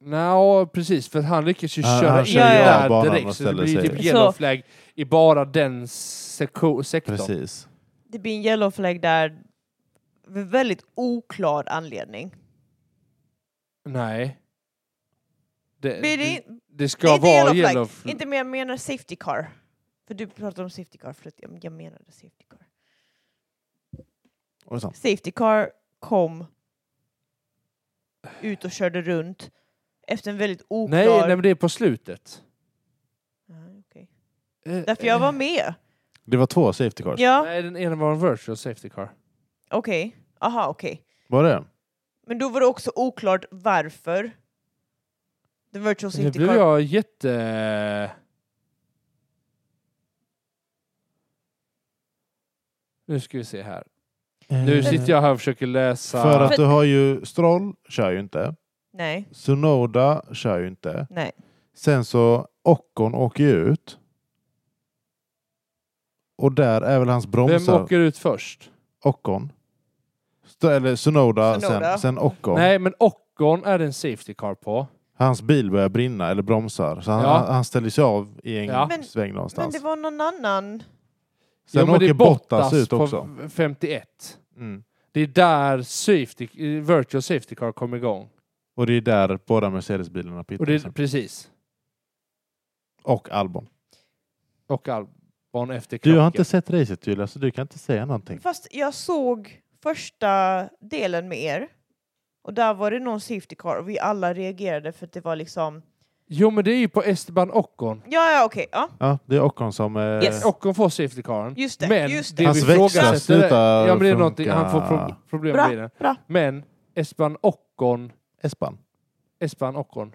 S3: Nå, precis, för han lyckas ju
S1: Han-
S3: köra
S1: han
S3: in
S2: kör ju av
S3: där
S1: banan
S3: direkt
S1: och
S3: så det
S1: ställer
S3: blir ju
S1: sig.
S3: typ
S2: Så-
S3: yellow flag i bara den seko- sektorn.
S1: Precis.
S2: Det blir en yellow flag där med väldigt oklar anledning.
S3: Nej. Det,
S2: Blir det,
S3: det,
S2: in-
S3: det
S2: det är
S3: ska
S2: inte
S3: vara
S2: yellow flag.
S3: yellow flag.
S2: Inte men jag menar safety car. För du pratade om safety car förut. Jag- Jag menade safety car.
S1: Och sånt.
S2: Safety car kom ut och körde runt efter en väldigt oklar...
S3: Nej, nej, men det är på slutet.
S2: Ah, okej.
S3: Eh,
S2: Därför jag var
S3: eh,
S2: med.
S1: Det var två safety cars.
S2: Ja,
S3: Nej, den ena var en virtual safety car.
S2: okej. Aha, okej.
S1: Var det?
S2: Men då var det också oklart varför. The virtual
S3: Nu
S2: safety
S3: blev
S2: car.
S3: jag jätte... Nu ska vi se här.
S1: Ehm.
S3: Nu sitter jag här och försöker läsa.
S1: Mm. För att
S2: För-
S1: du har ju Stroll, kör ju inte.
S2: Nej,
S1: Sunoda kör ju inte.
S2: nej.
S1: Sen så Ockon åker ju ut. Och där är väl hans
S3: Vem
S1: bromsar
S3: åker ut först?
S1: Ockon. St- eller Sunoda,
S2: Tsunoda.
S1: sen, sen Ockon.
S3: Nej, men Ockon är det en safety car på.
S1: Hans bil börjar brinna eller bromsar. Så han,
S3: Ja.
S1: han ställer sig av i en
S3: Ja.
S2: Men-
S1: sväng
S2: Men
S1: någonstans.
S2: det var någon annan.
S1: Sen
S3: Jo, men det
S1: åker
S3: är
S1: Bottas ut också.
S3: på 51.
S1: Mm.
S3: Det är där safety, eh, virtual safety car kommer igång.
S1: Och det är där båda Mercedes-bilarna
S3: Och
S1: pittar.
S3: det är,
S1: sen.
S3: precis.
S1: Och Albon.
S3: Och Albon efter
S1: Du har
S3: krocken.
S1: inte sett racet Julia, så du kan inte säga någonting.
S2: Fast jag såg första delen med er. Och där var det någon safety car och vi alla reagerade för att det var liksom...
S3: Jo, men det är ju på Esteban Ockon.
S2: Ja, ja, okej. Ja,
S1: Ja, det är Ockon som... Eh,
S2: Yes.
S3: Ockon får safety caren.
S2: just det.
S3: Men
S2: just
S3: det
S2: det.
S1: Hans
S3: vi
S1: växlar
S3: frågar
S1: slutar
S3: ja, men det är något,
S1: funka.
S3: Han får pro- problem
S2: Bra.
S3: med bilen.
S2: Bra.
S3: Men Esteban Ockon,
S1: Espan.
S3: Esteban Ockon.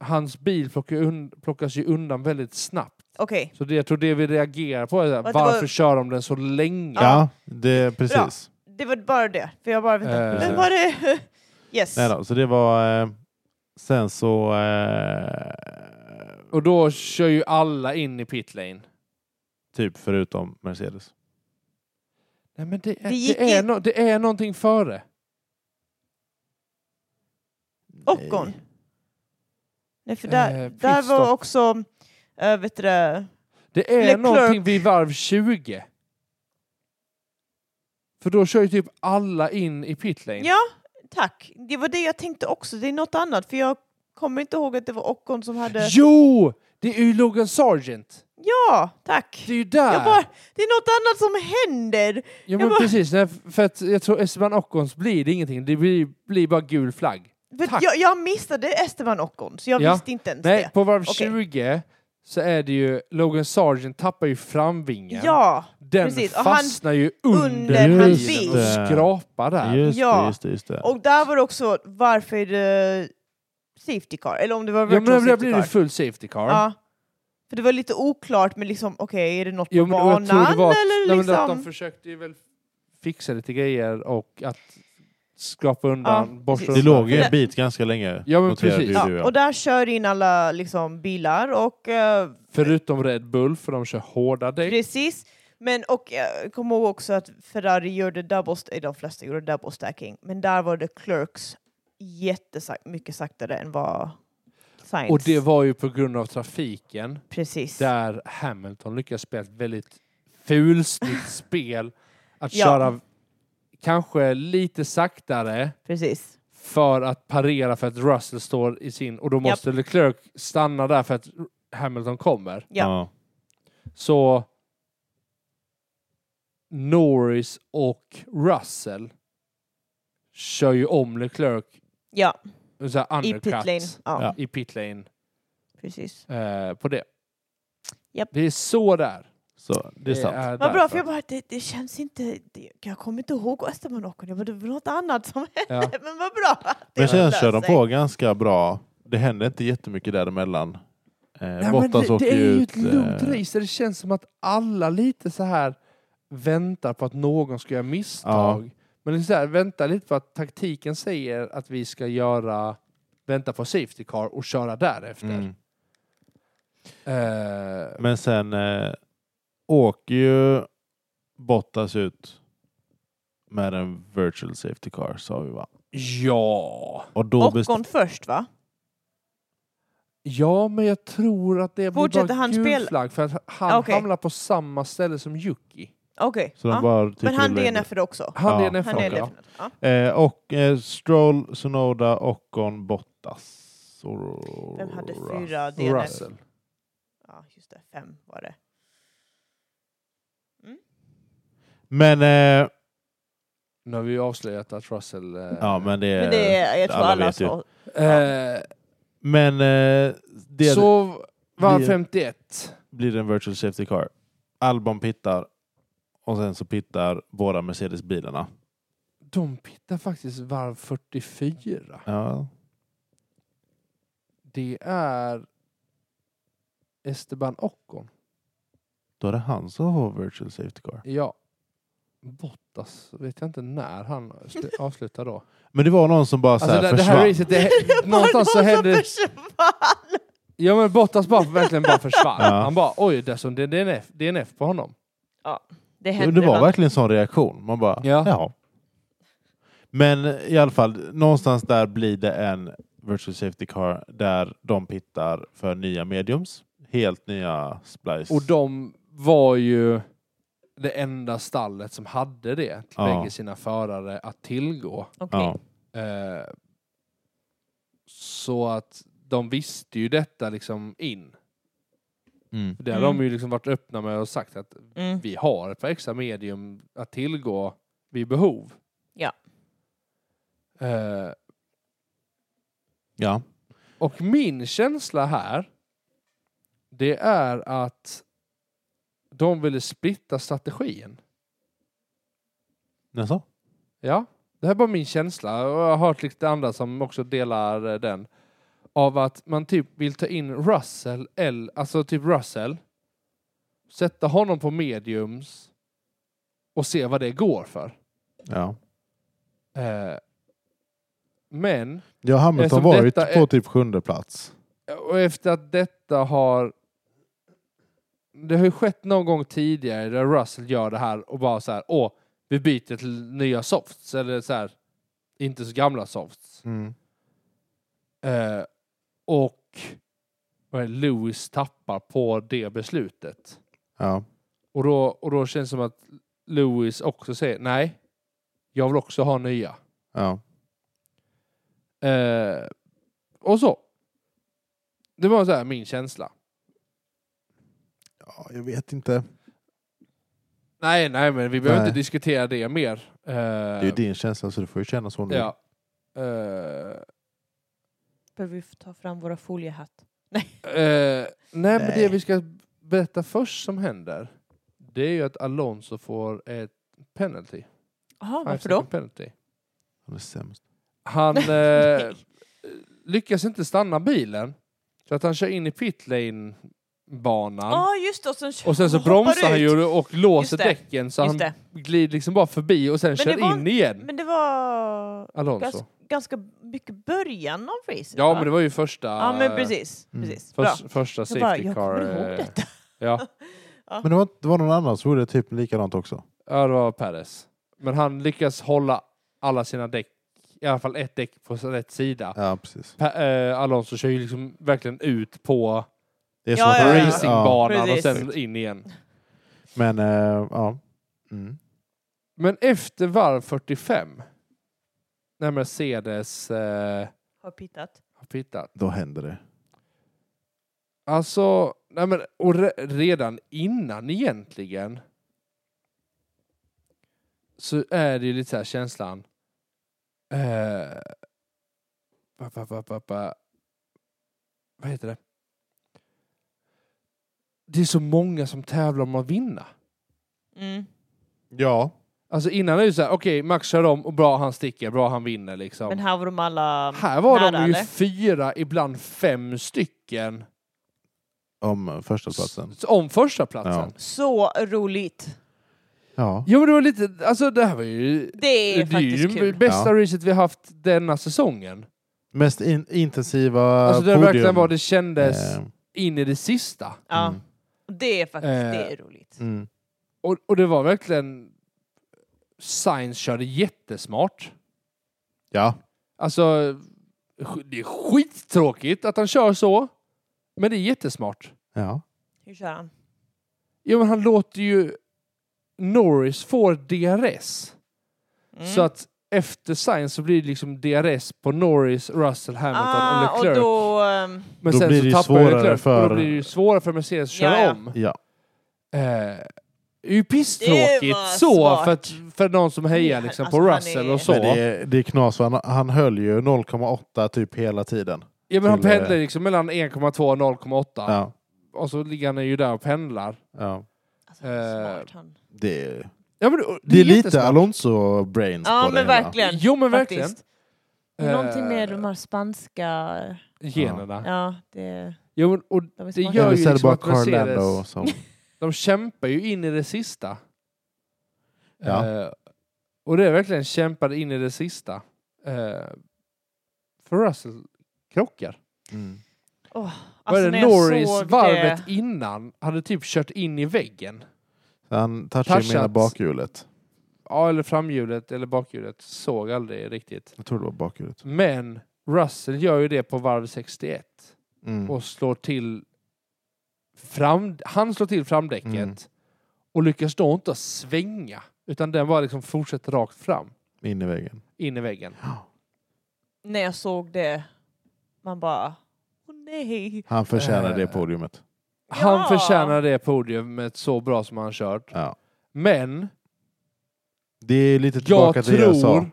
S3: Hans bil plockar un, plockas ju undan väldigt snabbt.
S2: Okej.
S3: Så det, jag tror det vi reagerar på är så här,
S2: Att det var-
S3: varför kör de den så länge?
S1: Ja, det, precis.
S2: Det var bara det. För jag bara...
S3: Eh.
S2: Vänta. Vem var det? yes.
S1: Nej då, så det var... Eh, sen så... Eh,
S3: Och då kör ju alla in i pitlane.
S1: typ förutom Mercedes.
S3: Nej, men det är,
S2: Det
S3: det,
S2: gick
S3: är
S2: in-
S3: no, det är någonting före.
S2: Ockon.
S1: Nej.
S2: Nej, för där,
S3: Eh,
S2: där var
S3: pitstop.
S2: också... Äh, vet du det?
S3: Det är
S2: Leclerc.
S3: någonting vid varv 20. För då kör ju typ alla in i pitlane.
S2: Ja, tack. Det var det jag tänkte också. Det är något annat. För jag kommer inte ihåg att det var Ockon som hade...
S3: Jo! Det är ju Logan Sargent.
S2: Ja, tack.
S3: Det är ju där.
S2: Jag bara, det är något annat som händer.
S3: ja, men
S2: jag bara-
S3: precis. Nej, för att jag tror Esteban Ockons blir det ingenting. Det blir, blir bara gul flagg.
S2: För
S3: Tack.
S2: Jag, jag missade Esteban Ockon, så jag
S3: Ja.
S2: visste inte ens
S3: Nej,
S2: det.
S3: på varv
S2: Okej.
S3: 20 så är det ju Logan Sargent tappar ju framvingen.
S2: Ja,
S3: Den
S2: precis. Och han-
S3: fastnar ju under,
S2: under
S1: hans
S3: bilen och
S1: bil.
S3: skrapar där.
S1: Just det,
S2: Ja.
S1: just det, just det.
S2: och där var det också varför är det safety car, eller om det var
S3: Ja,
S2: virtual
S3: men där
S2: safety
S3: blir
S2: car.
S3: det full safety car.
S2: ja. För det var lite oklart, men liksom okej, är det något
S3: Jo,
S2: på
S3: men och jag
S2: banan
S3: tror det var att,
S2: eller
S3: nej, men att
S2: liksom?
S3: de försökte ju väl fixa lite grejer och att skrapa undan,
S2: Ja,
S3: borsta
S2: precis.
S1: Det
S3: undan.
S1: låg ju en
S2: Det-
S1: bit ganska länge.
S3: Ja, men
S1: noterade
S3: precis.
S1: ju
S2: ja,
S1: du, ja.
S2: Och där kör in alla liksom, bilar och eh,
S3: Förutom Red Bull, för de kör hårda däck.
S2: Precis. Men och jag kommer ihåg också att Ferrari gjorde double, st- eh, de flesta gjorde double stacking, men där var det Clerks jättesakt, mycket saktare än vad Science.
S3: Och det var ju på grund av trafiken
S2: Precis.
S3: där Hamilton lyckas spela ett väldigt fulsnyggt spel. Att
S2: Ja.
S3: köra kanske lite saktare
S2: Precis.
S3: för att parera för att Russell står i sin och då måste Leclerc stanna där för att Hamilton kommer.
S2: Ja.
S1: Ja.
S3: Så Norris och Russell kör ju om Leclerc
S2: Ja,
S3: så här
S2: i
S3: undercut,
S2: pitlane. Ja,
S1: Ja.
S3: i pitlane
S2: precis.
S3: eh, på det.
S2: Japp.
S3: Det är så där.
S1: Så det är sant.
S2: Vad bra,
S3: därför.
S2: för jag bara, det, det känns inte... Det, jag kommer inte ihåg Österman Åkon, jag bara, det var något annat som hände,
S3: Ja.
S2: men vad bra. att det
S1: Men sen
S2: löste
S1: kör de
S2: sig.
S1: på ganska bra. Det händer inte jättemycket däremellan. Eh,
S3: Nej, men
S1: Bottas
S3: det,
S1: åker
S3: det är ju
S1: ut,
S3: ett lugnt
S1: eh,
S3: race. där Det känns som att alla lite så här väntar på att någon ska göra misstag. Men det är så här, vänta lite för att taktiken säger att vi ska göra vänta på safety car och köra därefter.
S1: mm.
S3: Eh,
S1: Men sen eh, åker ju Bottas ut med en virtual safety car sa vi va?
S3: ja.
S1: Och då best-
S2: Ockon först va?
S3: ja, men jag tror att det blir
S2: Fortsätter
S3: bara
S2: han
S3: gul
S2: spela?
S3: flagg för att han
S2: Ah, okej.
S3: hamnar på samma ställe som Yuki.
S2: Okej.
S1: så de
S2: Ja.
S1: bara typ
S2: Men han
S1: rullar in.
S2: DNF-ar också.
S3: Han
S1: Ja.
S3: är en
S2: Han
S3: F1, ja.
S2: DNF. Ja.
S1: Eh, och eh, Stroll, Sonoda, Ockon, Bottas. Och
S2: Vem hade
S1: Russ-
S2: fyra DNF?
S3: Russell.
S2: Ja, just det. Fem var det.
S1: Men, eh,
S3: Nu har vi ju avslöjat att Russell... eh,
S1: ja, men det,
S2: Men det är, jag tror alla,
S1: alla vet ju.
S2: sa...
S3: eh,
S1: men eh, det
S3: Så var
S1: Vi-
S3: 51.
S1: blir det en virtual safety car. Albon pittar och sen så pittar båda Mercedes-bilarna.
S3: De pittar faktiskt varv 44.
S1: Ja.
S3: Det är Esteban Ocon.
S1: Då är det han som får virtual safety car.
S3: Ja. Bottas vet jag inte när han sl- avslutar då.
S1: Men det var någon som bara så
S3: Alltså
S1: här
S3: det, det
S1: försvann.
S3: här racet, det, någonstans så hände... Ja men Bottas bara verkligen bara försvann.
S1: Ja.
S3: Han bara oj, det är som det är DNF, DNF på honom.
S2: Det
S1: Jo,
S2: hände
S1: det var
S2: ibland.
S1: verkligen en sån reaktion. Man bara, ja.
S3: Ja.
S1: Men i alla fall, någonstans där blir det en virtual safety car där de pittar för nya mediums. Helt nya splice.
S3: Och de var ju det enda stallet som hade det till
S1: Ja.
S3: bägge sina förare att tillgå.
S2: Okej.
S1: ja.
S3: Eh, så att de visste ju detta liksom in.
S1: Mm.
S3: Det har
S2: Mm.
S3: de ju liksom varit öppna med och sagt att
S2: Mm.
S3: vi har ett par extra medium att tillgå vid behov.
S2: Ja.
S3: Eh,
S1: ja.
S3: och min känsla här, det är att de ville splitta strategin.
S1: Jaså?
S3: Ja, det här är bara min känsla och jag har hört lite andra som också delar eh, den. Av att man typ vill ta in Russell, eller, alltså typ Russell, sätta honom på mediums och se vad det går för.
S1: Ja.
S3: Eh, men,
S1: Ja, Hamilton
S3: Eftersom
S1: var ju på
S3: detta är-
S1: typ sjunde plats.
S3: och efter att detta har... Det har ju skett någon gång tidigare där Russell gör det här och bara så här, åh, vi byter till nya softs, eller så här, inte så gamla softs.
S1: Mm.
S3: Eh, och vad är det, Lewis tappar på det beslutet.
S1: Ja.
S3: Och då, och då känns det som att Lewis också säger nej, jag vill också ha nya.
S1: Ja.
S3: Eh, och så. Det var så här min känsla.
S1: ja, jag vet inte.
S3: Nej, nej, men vi behöver
S1: Nej.
S3: inte diskutera det mer. Eh,
S1: Det är ju din känsla så du får ju känna så nu.
S3: Ja. Eh,
S2: Behöver vi ta fram våra foliehatt?
S3: Eh, nej, men
S1: Nej.
S3: det vi ska berätta först som händer, det är ju att Alonso får ett penalty.
S2: Jaha,
S3: Five
S2: varför då?
S3: second Penalty.
S1: Han är sämst.
S3: Han eh,
S2: Nej.
S3: lyckas inte stanna bilen, så att han kör in i pitlane-banan.
S2: Ja, just det. Och sen,
S3: Och sen så
S2: hoppar
S3: bromsar han
S2: ut.
S3: ju och låser
S2: Just det.
S3: däcken så
S2: Just
S3: han
S2: det.
S3: glider liksom bara förbi och sen
S2: Men
S3: kör
S2: det var
S3: in
S2: inte-
S3: igen.
S2: Men det var
S3: Alonso.
S2: gans, ganska mycket början av racet
S3: Ja,
S2: va?
S3: men det var ju första,
S2: Ja, men precis.
S1: Mm.
S2: precis. Bra.
S3: förs- första
S2: Jag, bara,
S3: safety
S2: jag
S3: car.
S2: kommer ihåg
S3: eh,
S2: detta.
S3: Ja,
S1: Men det var, det var någon annan som gjorde typ likadant också.
S3: ja, det var Perez. Men han lyckas hålla alla sina däck, i alla fall ett däck på rätt sida.
S1: Ja, precis.
S3: Pa- eh, Alonso kör ju liksom verkligen ut på
S1: Det är
S2: Ja,
S1: som att-
S2: ja, ja.
S3: racingbanan och
S2: Precis.
S3: sen in igen.
S1: Men eh, ja. Mm.
S3: Men efter varv 45, när Mercedes eh,
S2: Har pittat.
S3: har pittat,
S1: Då händer det.
S3: alltså, nej men, och re, redan innan egentligen, så är det ju lite så här känslan, eh, ba, ba, ba, ba, ba, vad heter det? Det är så många som tävlar om att vinna.
S2: Mm.
S1: Ja.
S3: Alltså innan är det ju så här, okej Max kör om och bra han sticker, bra han vinner liksom.
S2: Men här var de alla
S3: Här var
S2: nära,
S3: de ju
S2: eller?
S3: fyra, ibland fem stycken
S1: om första platsen.
S3: S- Om första platsen.
S1: Ja.
S2: Så roligt!
S1: Ja.
S3: Jo men det var lite, alltså det här var ju
S2: Det är
S3: det är ju
S2: faktiskt
S3: det
S2: kul.
S3: bästa
S1: Ja.
S3: racet vi haft denna säsongen.
S1: Mest in, intensiva
S3: Alltså det
S1: podium.
S3: var verkligen vad det kändes
S1: Eh,
S3: in i det sista.
S2: Ja.
S1: Mm.
S2: Det är faktiskt
S3: Eh,
S2: det är roligt.
S1: mm.
S3: Och, och det var verkligen... Science körde jättesmart.
S1: Ja.
S3: Alltså, sk- det är skittråkigt att han kör så. Men det är jättesmart.
S1: Ja.
S2: Hur kör han?
S3: Jo men han låter ju Norris få DRS.
S2: Mm.
S3: Så att efter Science så blir det liksom DRS på Norris, Russell, Hamilton
S2: ah,
S3: och
S2: och
S3: Leclerc.
S2: då... ehm,
S3: men
S1: Då
S3: sen
S1: blir
S3: så
S1: det ju
S3: tappar ju
S1: svårare
S3: Leclerc, och
S1: för-
S3: Då blir det ju svårare för Mercedes att köra
S2: Ja, ja.
S3: om.
S1: ja.
S3: Eh, det är ju
S2: Det
S3: pisstråkigt
S2: var
S3: så
S2: smart.
S3: för, att, för någon som
S2: Ja,
S3: hejar liksom,
S2: alltså,
S3: på
S2: han
S3: Russell
S2: är-
S3: och så.
S1: Men det, är, det är knas, för han, han höll ju 0,8 typ hela tiden.
S3: ja, men han
S1: till,
S3: pendlar
S1: eh,
S3: liksom mellan 1,2 och 0,8
S1: Ja.
S3: och så ligger han ju där och pendlar.
S1: Ja.
S2: alltså, han är
S3: Eh,
S2: smart, han.
S1: Det, är-
S3: Ja, men,
S1: det är lite
S3: jättesmart.
S1: Alonso-brains
S2: Ja
S1: på det
S2: men
S1: hela.
S2: verkligen.
S3: Jo men verkligen.
S2: Faktiskt. Det är Någonting med
S3: Eh,
S2: de här spanska...
S3: Generna.
S2: Ja, det,
S3: Jo, men, och
S2: de är
S3: Det
S2: smarta.
S3: gör
S1: Eller
S3: ju
S1: så är det
S3: liksom
S1: bara
S3: att Mercedes-
S1: Carlando som...
S3: de kämpar ju in i det sista.
S1: Ja.
S3: Eh, och det är verkligen kämpade in i det sista. Eh, för Russell krockar.
S1: Mm.
S2: Alltså,
S3: Var
S2: när
S3: det
S2: jag
S3: Norris
S2: såg
S3: varvet
S2: det-
S3: innan hade typ kört in i väggen.
S1: Han touchade ju
S3: Touchat.
S1: mina bakhjulet.
S3: Ja, eller framhjulet eller bakhjulet. Såg aldrig riktigt.
S1: Jag tror det var bakhjulet.
S3: Men Russell gör ju det på varv 61
S1: Mm.
S3: och slår till fram, han slår till framdäcket
S1: Mm.
S3: och lyckas då inte svänga utan den bara liksom fortsätter rakt fram
S1: In i väggen.
S3: in i väggen.
S2: När jag såg det, man bara... Åh nej!
S1: Han förtjänar det
S3: Eh.
S1: podiumet.
S3: Han
S2: Ja.
S3: förtjänar det podiumet så bra som han kört.
S1: Ja.
S3: Men
S1: Det är lite
S3: jag
S1: tillbaka till det jag sa.
S3: tror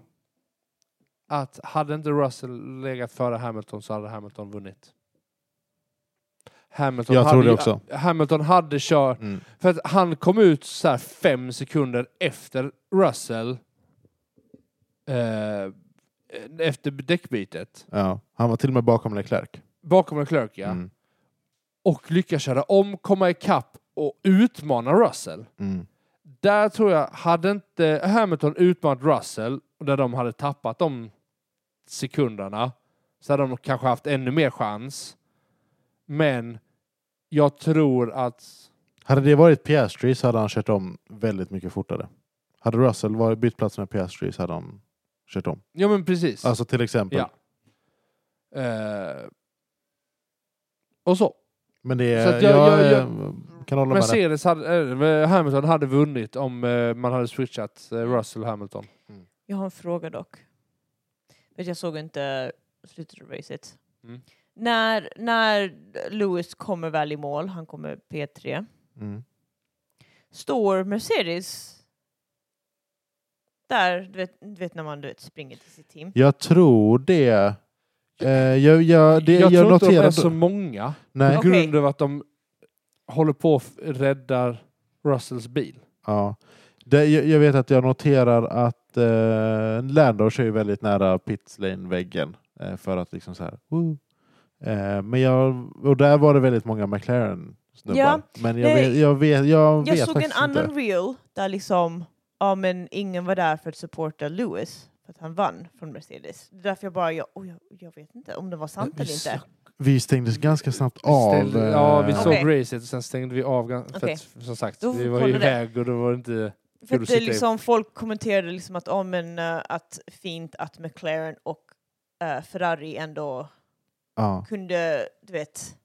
S3: att hade inte Russell legat före Hamilton så hade Hamilton vunnit. Hamilton
S1: Jag
S3: hade,
S1: tror det
S3: ju-
S1: också.
S3: Hamilton hade kört
S1: Mm.
S3: För att han kom ut så här fem sekunder efter Russell. Eh, efter däckbytet.
S1: Ja. Han var till och med bakom Leclerc.
S3: Bakom Leclerc, ja.
S1: Mm.
S3: Och lyckas köra om, komma ikapp och utmana Russell.
S1: Mm.
S3: Där tror jag, hade inte Hamilton utmanat Russell, och där de hade tappat de sekunderna, så hade de kanske haft ännu mer chans. Men jag tror att
S1: Hade det varit Piastri så hade han kört om väldigt mycket fortare. Hade Russell varit bytt plats med Piastri så hade han kört om.
S3: Ja men precis.
S1: Alltså till exempel.
S3: Ja. Eh, och så.
S1: Men det är,
S3: Så att
S1: jag,
S3: jag- jag-
S1: eh, kan hålla med dig.
S3: Mercedes hade, eh, Hamilton hade vunnit om eh, man hade switchat eh, Russell Hamilton.
S2: Jag har en fråga dock. Vet, jag såg inte slutet av racet.
S3: Mm.
S2: När, när Lewis kommer väl i mål, han kommer P3,
S1: Mm.
S2: står Mercedes där, du vet, du vet när man du vet, springer till sitt team.
S1: Jag tror det. Eh, jag, jag, det jag,
S3: jag tror inte de
S1: noterar...
S3: är så många
S1: Nej.
S3: på grund av att de håller på att räddar Russells bil.
S1: Ja. Det, jag, jag vet att jag noterar att eh, Lando kör ju väldigt nära pit lane väggen eh, för att liksom så här. woo. Eh, men jag, och där var det väldigt många McLaren snubbar.
S2: Ja.
S1: men jag
S2: Nej.
S1: vet, jag vet, jag
S2: Jag
S1: vet
S2: såg en
S1: faktiskt
S2: annan
S1: inte.
S2: reel där liksom, ja men ingen var där för att supporta Lewis för att han vann från Mercedes. Det är Därför jag bara, jag, oh, jag, jag vet inte om det var sant
S3: Vi
S2: eller inte.
S3: snack-
S1: Vi stängdes ganska snabbt
S3: vi
S1: av.
S3: ställde- ja, vi
S1: eh,
S3: såg
S2: Okej.
S3: racet och sen stängde vi av. gan- För
S2: Okej.
S3: att, som sagt,
S2: Då
S3: vi var
S2: kollar
S3: ju
S2: det.
S3: iväg och det var inte...
S2: För
S3: du
S2: att det
S3: sitter i-
S2: liksom, folk kommenterade liksom att, oh, men, eh, att fint att McLaren och eh, Ferrari ändå
S1: ja.
S2: kunde, du vet,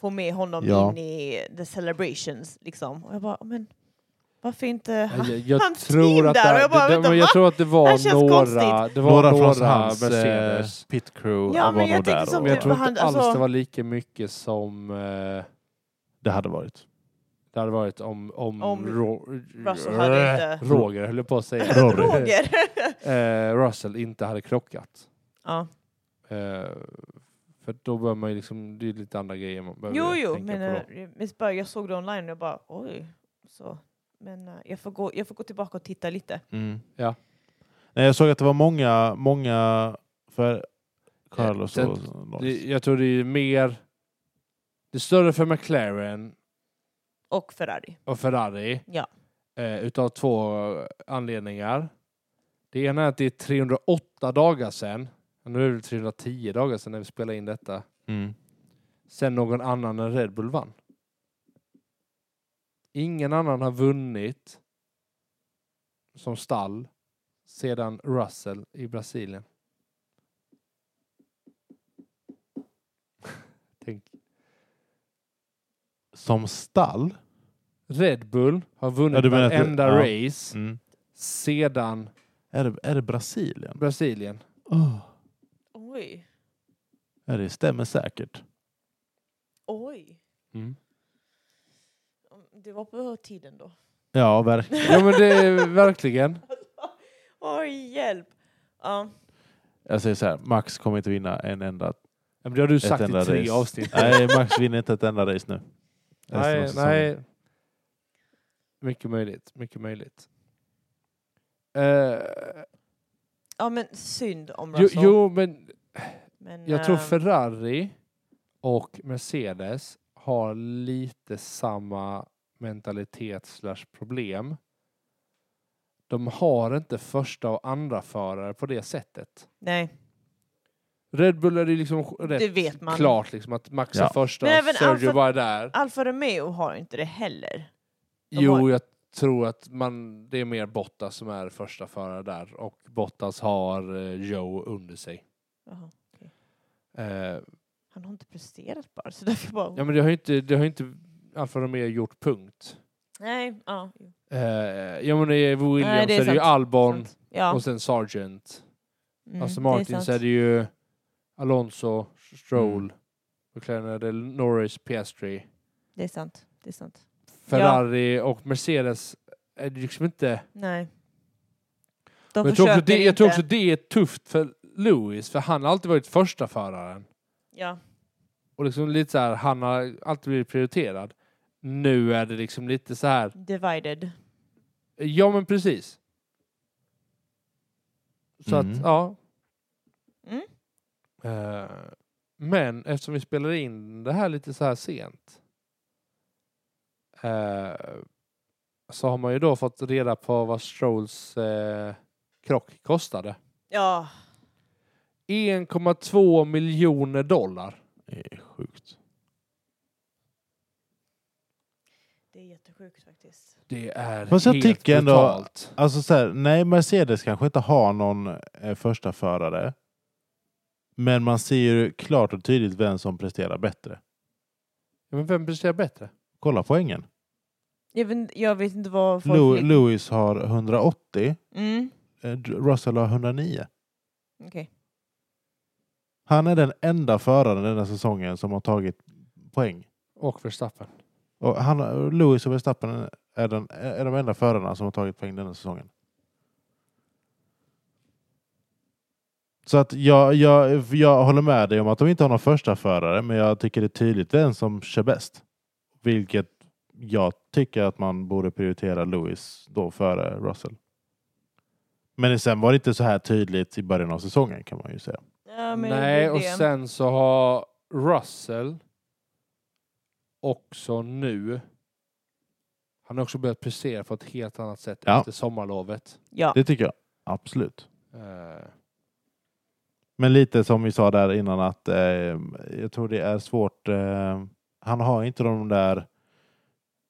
S2: få med honom
S1: Ja.
S2: in i the celebrations liksom. Och jag bara, "Ja, men varför inte han?
S3: Jag, jag
S2: hans team
S3: tror att
S2: där, och
S3: det,
S2: jag bara,
S3: det,
S2: vänta,
S3: det,
S2: va?
S3: jag tror att det
S2: Här
S3: var
S2: känns
S3: några,
S2: konstigt.
S3: det var
S1: Några
S3: några,
S1: från hans eh,
S3: Mercedes.
S1: pit crew
S2: Ja,
S1: var
S2: men jag
S1: nog
S2: tänker
S1: där.
S2: som
S1: och-
S3: Men jag tror
S2: han-
S3: inte alls
S2: alltså-
S3: det var lika mycket som eh,
S1: Det hade varit.
S3: det hade varit om, om,
S2: Om
S3: Ro- Eh,
S2: Russell hade inte-
S3: Roger, höll jag på att säga.
S1: Rory.
S2: Roger!
S3: Eh, Russell inte hade krockat.
S2: ja.
S3: Eh, för då bör man ju liksom, det är lite andra grejer man behöver
S2: Jo, jo,
S3: tänka
S2: men
S3: på.
S2: eh,
S3: då.
S2: men bara, jag såg det online och jag bara, oj. Så. Men eh, jag, får gå, jag får gå tillbaka och titta lite.
S1: Mm.
S3: Ja.
S1: Nej, jag såg att det var många, många för Carlos
S3: Den-
S1: och Norris.
S3: Det, jag tror det är mer Det större för McLaren
S2: och Ferrari.
S3: och Ferrari.
S2: Ja.
S3: Eh, utav två anledningar. Det ena är att det är 308 dagar sedan. Ja, Nu är det 310 dagar sedan när vi spelade in detta.
S1: Mm.
S3: Sen någon annan än Red Bull vann. Ingen annan har vunnit som stall sedan Russell i Brasilien. Tänk.
S1: Som stall?
S3: Red Bull har
S1: Ja,
S3: vunnit
S1: du menar att det-
S3: varenda
S1: ja. Mm.
S3: race sedan
S1: Är, det, är det Brasilien?
S3: Brasilien.
S1: Oh.
S2: Oj.
S1: Ja, det stämmer säkert.
S2: Oj.
S3: Mm.
S2: Mm, Det var på tiden då.
S1: Ja, verkligen.
S3: Ja men det är verkligen.
S2: Oj, hjälp. Ja.
S1: Jag säger så här, Max kommer inte vinna en enda...
S3: Ja, men Det har du
S1: Ett
S3: sagt i
S1: enda
S3: tre
S1: race.
S3: avsnitt.
S1: Nej, Max vinner inte ett enda race nu. Resten av
S3: Nej,
S1: säsongen.
S3: nej. Mycket möjligt, mycket möjligt. Eh,
S2: ja, men synd om
S3: jo,
S2: Russell.
S3: jo, men
S2: men,
S3: jag tror
S2: ehm,
S3: Ferrari och Mercedes har lite samma mentalitet slash problem. De har inte första och andra förare på det sättet.
S2: Nej,
S3: Red Bull är det liksom rätt
S2: det vet man.
S3: klart liksom att Max
S1: Ja.
S3: är första,
S2: Men alltså, även
S3: Sergio
S2: Alfa-
S3: var där.
S2: Alfa Romeo har inte det heller. De
S3: Jo,
S2: har-
S3: jag tror att man, det är mer Bottas som är första förare där och Bottas har eh, Joe under sig.
S2: Jaha, okej.
S3: Eh,
S2: Han har inte presterat bara, så därför bara...
S3: ja, men det har ju inte, det har ju inte Alfa Romeo gjort punkt.
S2: Nej, ja. jo,
S3: Eh, ja, men det är Williams
S2: Nej, det är
S3: så är det ju
S2: sant.
S3: Albon
S2: sant. Ja.
S3: och sen Sargent.
S2: Mm,
S3: alltså
S2: det är
S3: Martin
S2: sant.
S3: så är det ju Alonso, Stroll,
S1: Mm.
S3: McLaren är det Norris, Piastri,
S2: Det är sant. Det är sant.
S3: Ferrari och Mercedes är det liksom inte
S2: Nej. De
S3: Men jag, tror
S2: försöker
S3: också det, jag tror
S2: inte.
S3: också det är tufft för Lewis, för han har alltid varit första föraren.
S2: Ja.
S3: Och liksom lite så här, han har alltid blivit prioriterad. Nu är det liksom lite så här,
S2: Divided.
S3: ja men precis. Så
S1: Mm.
S3: att, ja.
S2: Mm.
S3: Eh, men eftersom vi spelar in det här lite så här sent. eh, så har man ju då fått reda på vad Strolls eh, krock kostade.
S2: Ja.
S3: 1,2 miljoner dollar.
S1: Det är sjukt.
S2: Det är jättesjukt faktiskt.
S3: Det är
S1: Fast jag
S3: helt
S1: tycker ändå-
S3: brutalt.
S1: Alltså så här, nej, Mercedes kanske inte har någon eh, första förare. Men man ser ju klart och tydligt vem som presterar bättre.
S3: Ja, Men vem presterar bättre?
S1: Kolla poängen.
S2: Jag vet, jag vet inte vad folk...
S1: Lew- Lewis har 180,
S2: Mm.
S1: eh, Russell har 109.
S2: Okej.
S1: Han är den enda föraren den här säsongen som har tagit poäng.
S3: Och Verstappen.
S1: Och han, Lewis och Verstappen är, den, är de enda förarna som har tagit poäng den här säsongen. Så att jag, jag, jag håller med dig om att de inte har någon första förare, men jag tycker det är tydligt vem som kör bäst. Vilket jag tycker att man borde prioritera Lewis då före Russell. Men sen var det inte så här tydligt i början av säsongen kan man ju säga.
S2: Ja, men det
S3: Nej,
S2: är
S3: och
S2: det.
S3: sen så har Russell också nu... Han har också börjat prestera på ett helt annat sätt
S1: Ja.
S3: efter sommarlovet.
S2: Ja.
S1: Det tycker jag absolut.
S3: Eh,
S1: Men lite som vi sa där innan att eh, jag tror det är svårt. Eh, han har inte de där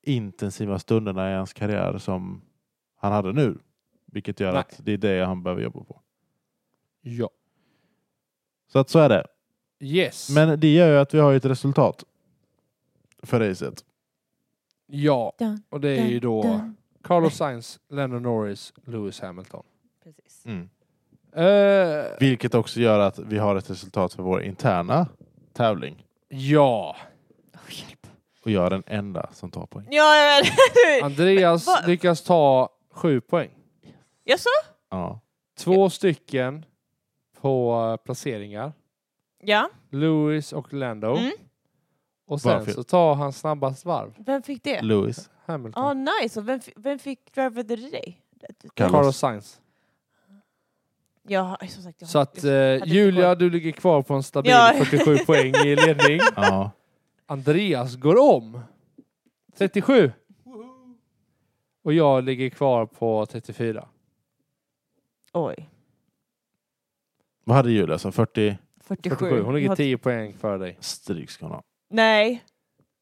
S1: intensiva stunderna i hans karriär som han hade nu. Vilket gör
S3: Nej.
S1: att det är det han behöver jobba på.
S3: ja.
S1: Så att så är det.
S3: Yes.
S1: Men det gör ju att vi har ju ett resultat för racet.
S3: Ja,
S2: Dun,
S3: och det är ju då
S2: dun.
S3: Carlos Sainz, Lennon Norris, Lewis Hamilton. Mm.
S2: Precis.
S3: Eh,
S1: Vilket också gör att vi har ett resultat för vår interna tävling.
S3: ja,
S2: Åh, hjälp.
S1: Och jag är den enda som tar poäng.
S2: Ja, jag vet.
S3: Andreas
S2: Men vad-
S3: lyckas ta sju poäng.
S2: Jaså?
S1: Ja.
S3: Två stycken på eh, placeringar.
S2: Ja.
S3: Lewis och Lando.
S2: Mm.
S3: Och sen
S1: Varför?
S3: så tar han snabbast varv.
S2: Vem fick det?
S1: Lewis.
S3: Hamilton.
S2: Ja, nice. Och vem, fi- vem fick Driver of the Day?
S1: Carlos.
S3: Carlos Sainz.
S2: Jag har, som sagt, jag har
S3: Så att
S2: inte-
S3: eh,
S2: inte
S3: Julia,
S2: koll.
S3: du ligger kvar på en stabil
S2: Ja.
S3: 47 poäng i ledning.
S1: Ja.
S3: Andreas går om. 37. Och jag ligger kvar på 34.
S2: Oj.
S1: Vad hade Julia? Så 40
S2: 47.
S3: 47. Hon ligger
S2: Jag-
S3: 10 poäng före dig.
S1: stryk ska hon ha.
S2: Nej,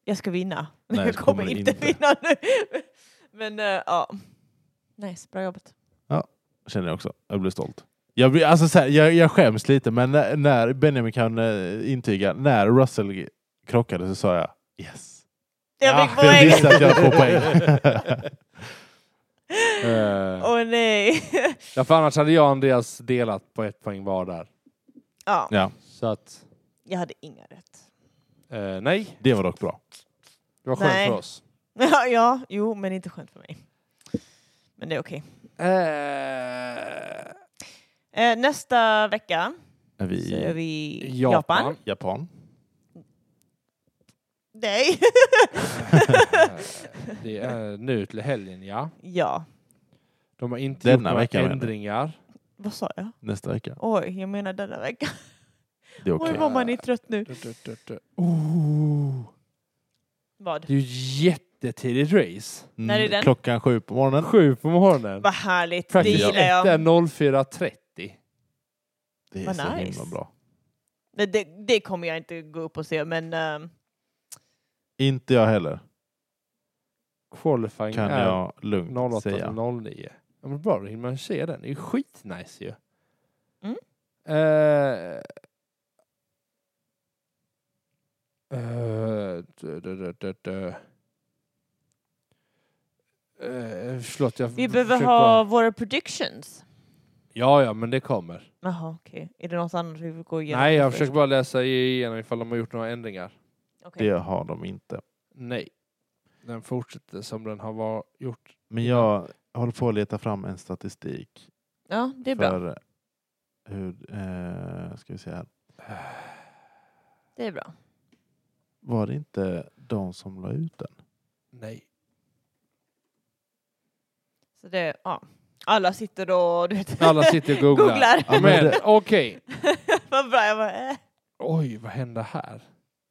S2: jag ska vinna.
S1: Nej,
S2: jag
S1: så
S2: kommer inte vinna nu. Men eh, ja. Nice, bra jobbat.
S1: Känner jag också. Jag blir stolt. Jag, blir, alltså så här, jag, jag skäms lite, men när, när Benjamin kan eh, intyga, när Russell krockade så sa jag yes.
S2: Jag
S1: Ja,
S3: Ah,
S2: fick
S1: Jag visste
S2: poäng!
S1: att jag får poäng.
S3: Eh,
S2: Åh nej.
S3: ja, för annars hade jag och Andreas delat på ett poäng var där.
S2: ja,
S1: ja,
S3: Så att,
S2: jag hade inga rätt.
S3: eh, nej.
S1: det var dock bra.
S3: Det var skönt
S2: Nej.
S3: för oss.
S2: Ja, ja, jo, men inte skönt för mig. Men det är okej.
S3: Eh,
S2: Eh, nästa vecka
S1: Är
S2: så
S1: vi
S2: är vi i Japan.
S3: Japan.
S1: Japan?
S2: Nej.
S3: Eh, det är nu till helgen, ja.
S2: ja,
S3: De har inte
S1: Denna
S3: gjort några
S1: veckan, menar du?
S3: ändringar.
S2: vad sa jag?
S1: Nästa vecka?
S2: Oj, jag menar denna vecka.
S1: Det är okej.
S2: Oj, vad man är trött nu.
S3: Du, du, du, du. Oh,
S2: Vad?
S3: det är ju jättetidigt race.
S1: Mm,
S2: När är den?
S1: Klockan sju på morgonen.
S3: Sju på morgonen.
S2: Vad härligt, det
S3: Practice
S2: gillar
S3: ett
S2: jag.
S3: är 04.30.
S1: Det är
S2: Vad
S1: så
S2: nice.
S1: himla bra.
S2: Det, det, det kommer jag inte gå upp och se, men ehm,
S1: Inte jag heller,
S3: Qualifying
S1: kan
S3: är
S1: jag lugnt
S3: 08
S1: säga.
S3: till 09. Ja, men bra, då hinner man se den. Det är ju skitnice ju.
S2: Mm.
S3: Eh, eh, dö, dö, dö, dö, dö. Eh, förlåt, jag
S2: vi
S3: f-
S2: behöver
S3: försöker
S2: ha
S3: bara-
S2: våra predictions.
S3: Ja, ja, men det kommer.
S2: Jaha, okej. Är det något annat vi vill gå igenom?
S3: Nej, jag
S2: först?
S3: försöker bara läsa igenom ifall de har gjort några ändringar.
S2: Okej.
S1: Det har de inte.
S3: Nej. Den fortsätter som den har var, gjort.
S1: Men jag håller på att leta fram en statistik
S2: Ja, det är bra.
S1: för eh, hur... Eh, ska vi se här.
S2: Det är bra.
S1: Var det inte de som la ut den?
S3: Nej.
S2: Så det, ja. Alla sitter och du vet,
S3: Alla sitter och googlar.
S2: googlar.
S1: Ja, men
S3: Men
S1: det-
S3: okej.
S2: Vad bra, jag bara, äh.
S3: Oj, vad hände här?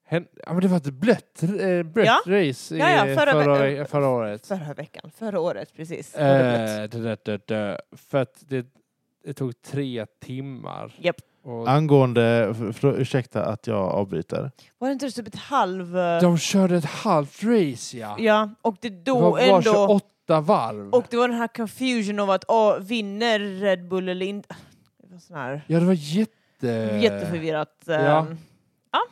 S3: Hän- Ja, men det var ett blött, eh, blött
S2: Ja.
S3: race i,
S2: Ja, ja,
S3: förra,
S2: förra ve-
S3: ve- förra året.
S2: Förra veckan, förra året precis.
S3: Eh, det, det, det, det, för att det, det tog tre timmar.
S2: Japp.
S3: Och
S1: Angående... f- För, ursäkta att jag avbryter.
S2: Var det inte typ ett halv... eh,
S3: de körde ett halvt race, ja.
S2: Ja, och det
S3: det
S2: då
S3: var, var
S2: ändå...
S3: 28 varv.
S2: Och det var den här confusion av att åh, vinner Red Bull eller inte. Det var sån här
S3: Ja, det var jätte...
S2: jätteförvirrat. ehm,
S3: Eh, ja.
S2: ja.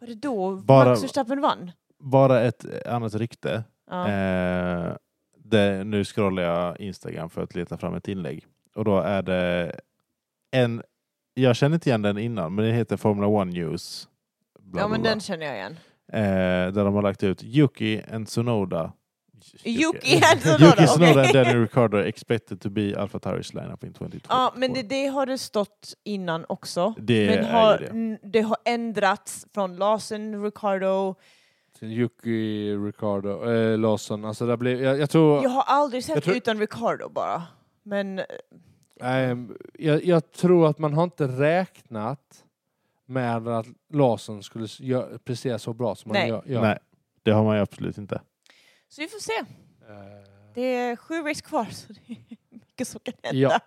S2: Var det då
S1: Bara-
S2: Max Verstappen vann?
S1: Bara ett annat rykte.
S2: Ja.
S1: Eh, det, nu scrollar jag Instagram för att leta fram ett inlägg. Och då är det en... Jag känner inte igen den innan, men den heter Formula One News. Bla,
S2: ja, men
S1: bla, bla.
S2: den känner jag igen.
S1: Eh, där de har lagt ut Yuki and Tsunoda.
S2: Yuki and Tsunoda,
S1: Yuki Tsunoda
S2: okej.
S1: and Daniel Ricciardo expected to be AlphaTauris lineup in 2022.
S2: Ja, men det, det har det stått innan också.
S1: Det
S2: men
S1: är ju
S2: har,
S1: det.
S2: n- det har ändrats från Larsen, Ricardo.
S3: Yuki, Ricardo, eh, Lawson. Alltså, det blev, jag, jag tror...
S2: Jag har aldrig sett
S3: Jag tror-
S2: utan Ricardo bara. Men eh,
S3: Ehm, jag, jag tror att man har inte räknat med att Larsson skulle s- gö- prestera så bra som
S2: Nej.
S3: han gör. gör.
S1: Nej, det har man ju absolut inte.
S2: så vi får se.
S3: Eh,
S2: Det är sju race kvar så det är mycket som kan hända.
S3: Ja.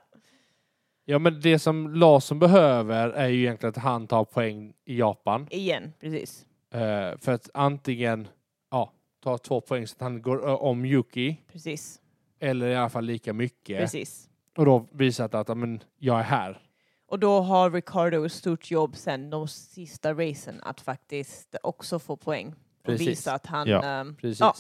S3: ja, men det som Larsson behöver är ju egentligen att han tar poäng i Japan.
S2: Igen, precis.
S3: Eh, för att antingen ja, ta två poäng så att han går ö, om Yuki,
S2: Precis.
S3: eller i alla fall lika mycket.
S2: Precis.
S3: Och då visat att ja, men, jag är här.
S2: Och då har Ricardo ett stort jobb sen de sista racen att faktiskt också få poäng. Och
S3: Precis.
S2: visa att han...
S1: Ja,
S2: ehm,
S3: Precis.
S2: Ja.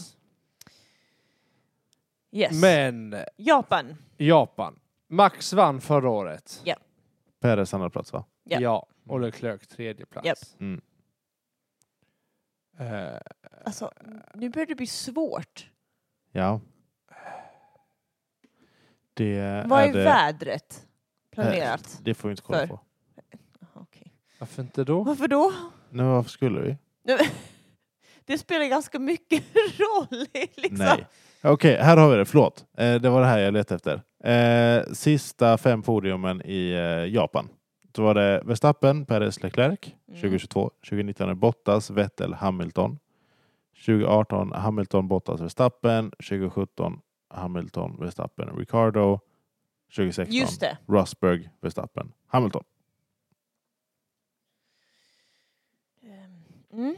S2: yes.
S3: Men
S2: Japan.
S3: Japan. Max vann förra året.
S1: Peres andra plats va?
S2: Ja.
S3: Ja, och Leclerc tredje plats.
S2: Japp.
S1: Mm.
S3: Eh,
S2: Alltså, nu börjar det bli svårt.
S1: Ja. Det
S2: Vad är,
S1: det,
S2: vädret planerat?
S1: Det får vi inte kolla
S2: för?
S1: på.
S2: Okej.
S3: varför inte då?
S2: Varför då?
S1: Nej, varför skulle vi?
S2: Nu- Det spelar ganska mycket roll. Liksom.
S1: Nej. Okej, här har vi det. Förlåt. Eh, det var det här jag letade efter. Eh, sista fem podiumen i eh, Japan Då var det Verstappen, Perez, Leclerc.
S2: Mm.
S1: 2022, 2019 är Bottas, Vettel, Hamilton. 2018 Hamilton, Bottas, Verstappen. 2017 Hamilton, Verstappen, Ricardo. 2016
S2: Just det.
S1: Rosberg, Verstappen, Hamilton.
S2: Mm.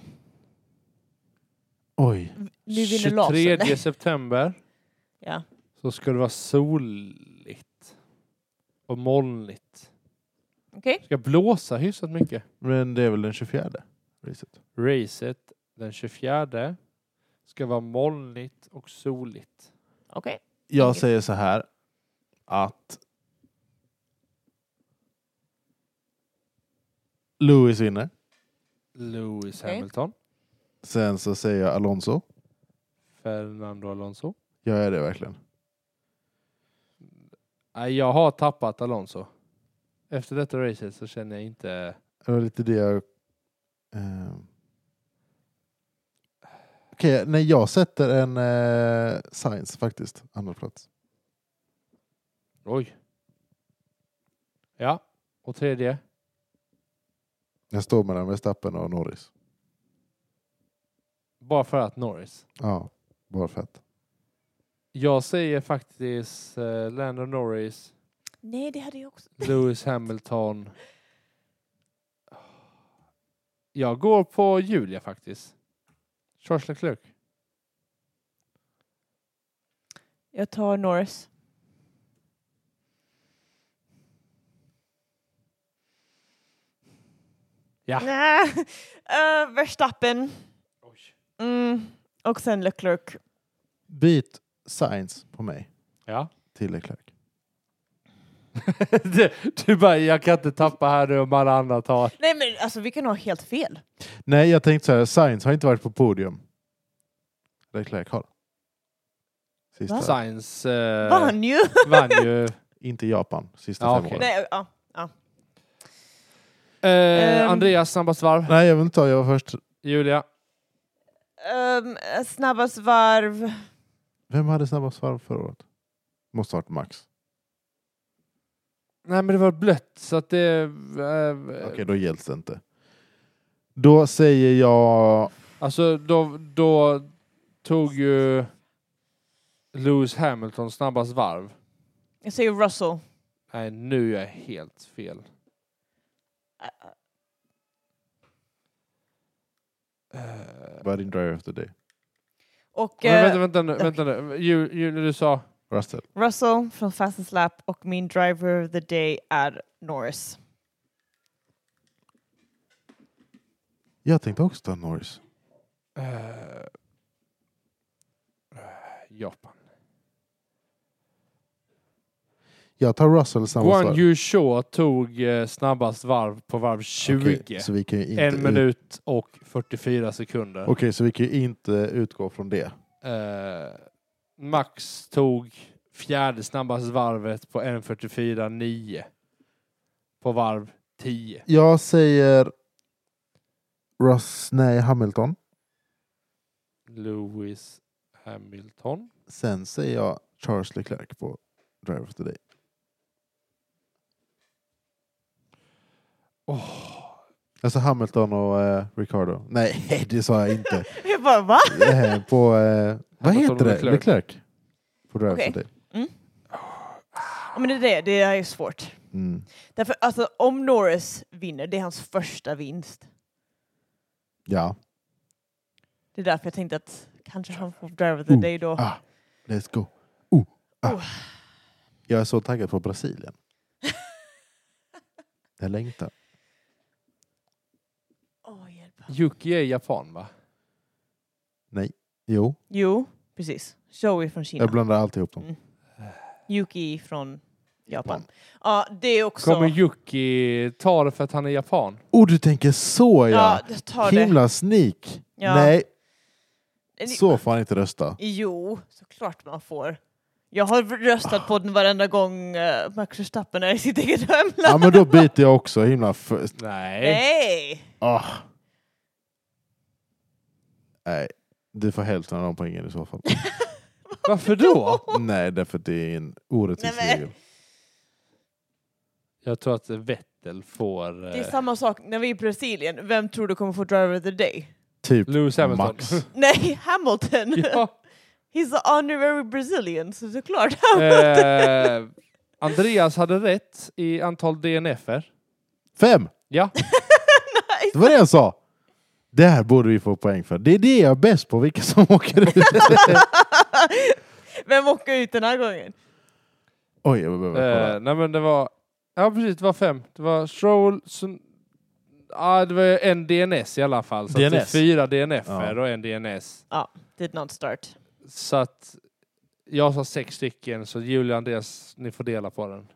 S1: Oj,
S2: Nu vinner Larsen.
S3: 23 september
S2: Ja.
S3: så ska det vara soligt och molnigt.
S2: Okej.
S3: Det ska blåsa hyfsat mycket.
S1: men det är väl den 24? Racet.
S3: Racet den 24 ska vara molnigt och soligt.
S2: Okej.
S1: Jag
S2: Okej.
S1: säger så här att Lewis vinner.
S3: Lewis
S2: Okej.
S3: Hamilton,
S1: Sen så säger jag Alonso.
S3: Fernando Alonso.
S1: Gör jag det verkligen?
S3: Nej, jag har tappat Alonso. Efter detta racet så känner jag inte...
S1: Det var lite det jag... ehm. Okej, nej jag sätter en eh, Science faktiskt, andra plats.
S3: Oj. Ja, och tredje.
S1: Jag står mellan Verstappen och Norris.
S3: Bara för att Norris.
S1: Ja, bara för att.
S3: Jag säger faktiskt eh, Lando Norris,
S2: Nej, det hade jag också.
S3: Lewis Hamilton. Jag går på Julia faktiskt. Charles Leclerc.
S2: Jag tar Norris.
S3: Ja.
S2: Nä. Eh, Verstappen.
S3: Oj.
S2: Mm. Och sen Leclerc.
S1: Byt Science på mig
S3: Ja.
S1: till Leclerc.
S3: du, du bara, jag kan inte tappa här nu om alla andra tar.
S2: Nej men alltså vi kan ha helt fel.
S1: Nej, jag tänkte så här, Science har inte varit på podium. Leclerc har. Sista.
S3: Science eh,
S2: Vann ju!
S3: vann ju. Eh,
S1: Inte Japan, sista
S3: Ja,
S1: fem
S3: okej.
S1: åren.
S2: Nej, ja.
S3: Eh,
S2: Ehm.
S3: Andreas, snabbast varv.
S1: Nej, jag vill inte ta, jag var först.
S3: Julia.
S2: Ehm, snabbast varv.
S1: Vem hade snabbast varv förra året? Måste ha varit Max.
S3: Nej, men det var blött så att det... eh,
S1: Okej, då gälls det inte. Då säger jag...
S3: Alltså, då, då tog ju Lewis Hamilton snabbast varv.
S2: Jag säger Russell.
S3: Nej, nu är jag helt fel. Eh,
S1: Budding Driver of the Day.
S2: Och
S3: men
S2: eh,
S3: vänta, vänta nu. Vänta nu. Ju- Julia, du sa...
S1: Russell.
S2: Russell från Fastest Lap och min driver of the day är Norris.
S1: Jag tänkte också ta Norris.
S3: Eh, Japan.
S1: Jag tar Russell snabbast
S3: Guan
S1: varv.
S3: Yu Shaw tog eh, snabbast varv på varv 20.
S1: Okej, så vi kan ju inte
S3: en
S1: ut-
S3: minut och 44 sekunder.
S1: Okej, så vi kan ju inte utgå från det.
S3: Eh, Max tog fjärde snabbast varvet på 1.44,9 på varv 10.
S1: Jag säger... Russ... Nej, Hamilton.
S3: Lewis Hamilton.
S1: Sen säger jag Charles Leclerc på Driver of the Day. Alltså Hamilton och eh, Ricardo. Nej, det sa jag inte.
S2: Jag bara va?
S1: Eh, på, eh, vad
S3: Hamilton
S1: heter
S3: och
S1: det?
S3: Leclerc.
S1: Leclerc. På Driver
S2: Okej.
S1: of the Day.
S2: Ja, Men det är det, det är ju svårt.
S1: Mm.
S2: Därför alltså om Norris vinner, det är hans första vinst.
S1: Ja,
S2: Det är därför jag tänkte att kanske han får driver of the
S1: Oh.
S2: day då.
S1: ah, let's go. Oh, ah.
S2: Oh.
S1: Jag är så taggad på Brasilien. Jag längtar.
S2: Åh, hjälp.
S3: Yuki är japan va?
S1: Jo,
S2: Jo, precis. Joey från Kina.
S1: jag blandar alltihop dem.
S2: Yuki från Japan.
S1: Japan.
S2: Ja, det är också...
S3: Kommer Yuki ta det för att han är japan?
S1: Oh, du tänker så ja!
S2: ja, jag tar det.
S1: Himla sneak!
S2: Ja.
S1: Nej,
S2: Eller-
S1: så får han inte rösta.
S2: Jo, såklart man får. Jag har röstat på den varenda gång eh, Max Verstappen är i sitt eget hemland.
S1: Ja, men då byter jag också. Himla f-
S3: Nej.
S2: Nej!
S1: ah. Nej, du får hälften av de poängen i så fall.
S3: Varför då?
S1: Nej, därför att det är en orättvis
S2: Nej, men-
S1: regel.
S3: Jag tror att Vettel Vettel får...
S2: Det är
S3: Eh,
S2: samma sak när vi är i Brasilien. Vem tror du kommer få driver of the day?
S1: Typ
S3: Lewis Hamilton.
S1: Max.
S2: Nej, Hamilton!
S3: ja,
S2: He's the honorary Brazilian, så såklart.
S3: eh, Andreas hade rätt i antal DNF-er.
S1: Fem!
S3: Ja,
S1: Det var det jag sa. Det här borde vi få poäng för. Det är det jag är bäst på, vilka som åker ut.
S2: Vem åker ut den här gången?
S1: Oj, jag behöver kolla.
S3: eh, nej men det var... Ja precis, det var fem. Det var Stroll... Sun, ah, det var en DNS i alla fall. Så att det är
S1: DNS.
S3: fyra DNF-er
S1: Ja.
S3: och en DNS.
S2: Did not start.
S3: Så att jag sa sex stycken, så Julia och Andreas, ni får dela på den.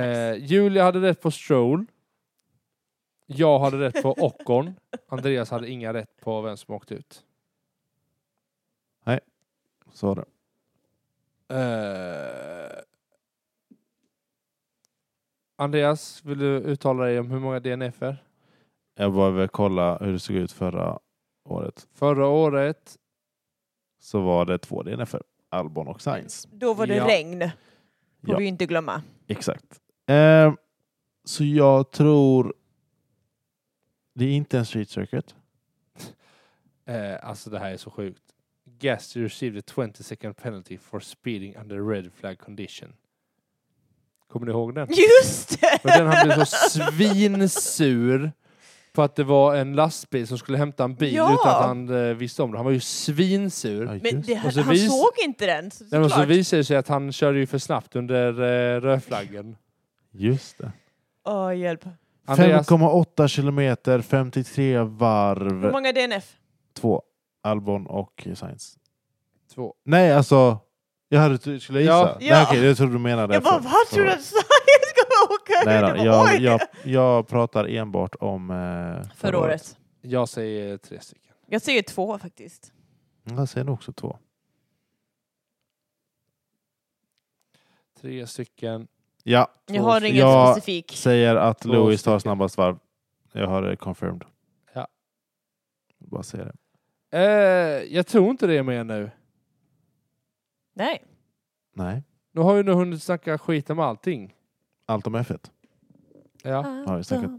S3: Eh, Julia hade rätt på Stroll. Jag hade rätt på Ockon. Andreas hade inga rätt på vem som åkte ut.
S1: Så var det.
S3: Eh, Andreas, vill du uttala dig om hur många DNF-er?
S1: Jag behöver kolla hur det såg ut förra året.
S3: Förra året,
S1: Så var det två DNF, Albon och Sainz.
S2: Då var det
S3: Ja.
S2: regn. Får
S1: Ja.
S2: vi inte glömma.
S1: Exakt. Ehm, så jag tror... Det är inte en street circuit.
S3: eh, alltså det här är så sjukt. Guest received a 20 second penalty for speeding under red flag condition. Kommer ni ihåg den?
S2: Just det!
S3: Men den han blev så svinsur på att det var en lastbil som skulle hämta en bil
S2: Ja.
S3: utan att han eh, visste om det. Han var ju svinsur.
S1: Ja,
S2: Men
S1: just
S2: det,
S1: det.
S2: han,
S3: Och så
S2: han
S3: vis-
S2: såg inte den, så
S3: Nej, men så
S2: såklart.
S3: visade det sig att han körde ju för snabbt under eh, rödflaggen.
S1: Just det.
S2: Åh, hjälp.
S3: Andreas,
S1: 5,8 kilometer, 53
S2: Hur
S1: varv.
S2: många DNF?
S1: Två. Albon och Sainz.
S3: två.
S1: Nej, alltså... Jag hade, skulle jag
S3: Ja.
S1: gissa?
S2: Ja.
S1: Nej, okej, jag trodde du menade...
S2: Jag bara,
S1: för-
S2: vad tror du
S1: för-
S2: att Sverige ska åka ut?
S1: Nej då,
S2: bara,
S1: jag,
S2: oj.
S1: jag, jag pratar enbart om eh, förra,
S2: Förra året.
S3: Jag säger tre stycken.
S2: Jag säger två faktiskt.
S1: Jag säger nog också två.
S3: Tre stycken.
S1: Ja,
S2: Jag har inget
S1: jag-
S2: specifik.
S1: säger att
S3: Två
S1: Lewis tar
S3: stycken.
S1: snabbast varv. Jag har det confirmed.
S3: Ja.
S1: Jag Bara säger det.
S3: Eh, jag tror inte det är med nu.
S2: Nej.
S1: Nej,
S3: Nu har vi nu hunnit snacka skit om allting.
S1: allt om F1.
S3: Ja.
S1: har vi säkert.
S2: Allt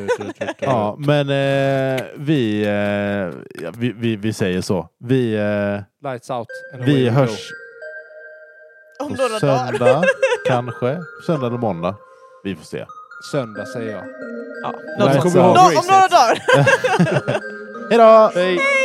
S2: om F1.
S1: Ja, men eh, vi, eh, ja, vi, vi, vi säger så. Vi, eh,
S3: Lights out. and away
S1: vi
S3: we go.
S1: hörs
S2: Om
S1: på
S2: några dagar.
S1: söndag, kanske. Söndag eller måndag. Vi får se.
S3: Söndag säger jag.
S2: Ja,
S1: Nej,
S3: 네,
S2: något sånt.
S1: kom ihåg
S2: Nå- om några dagar.
S1: Hej då!
S3: Hej!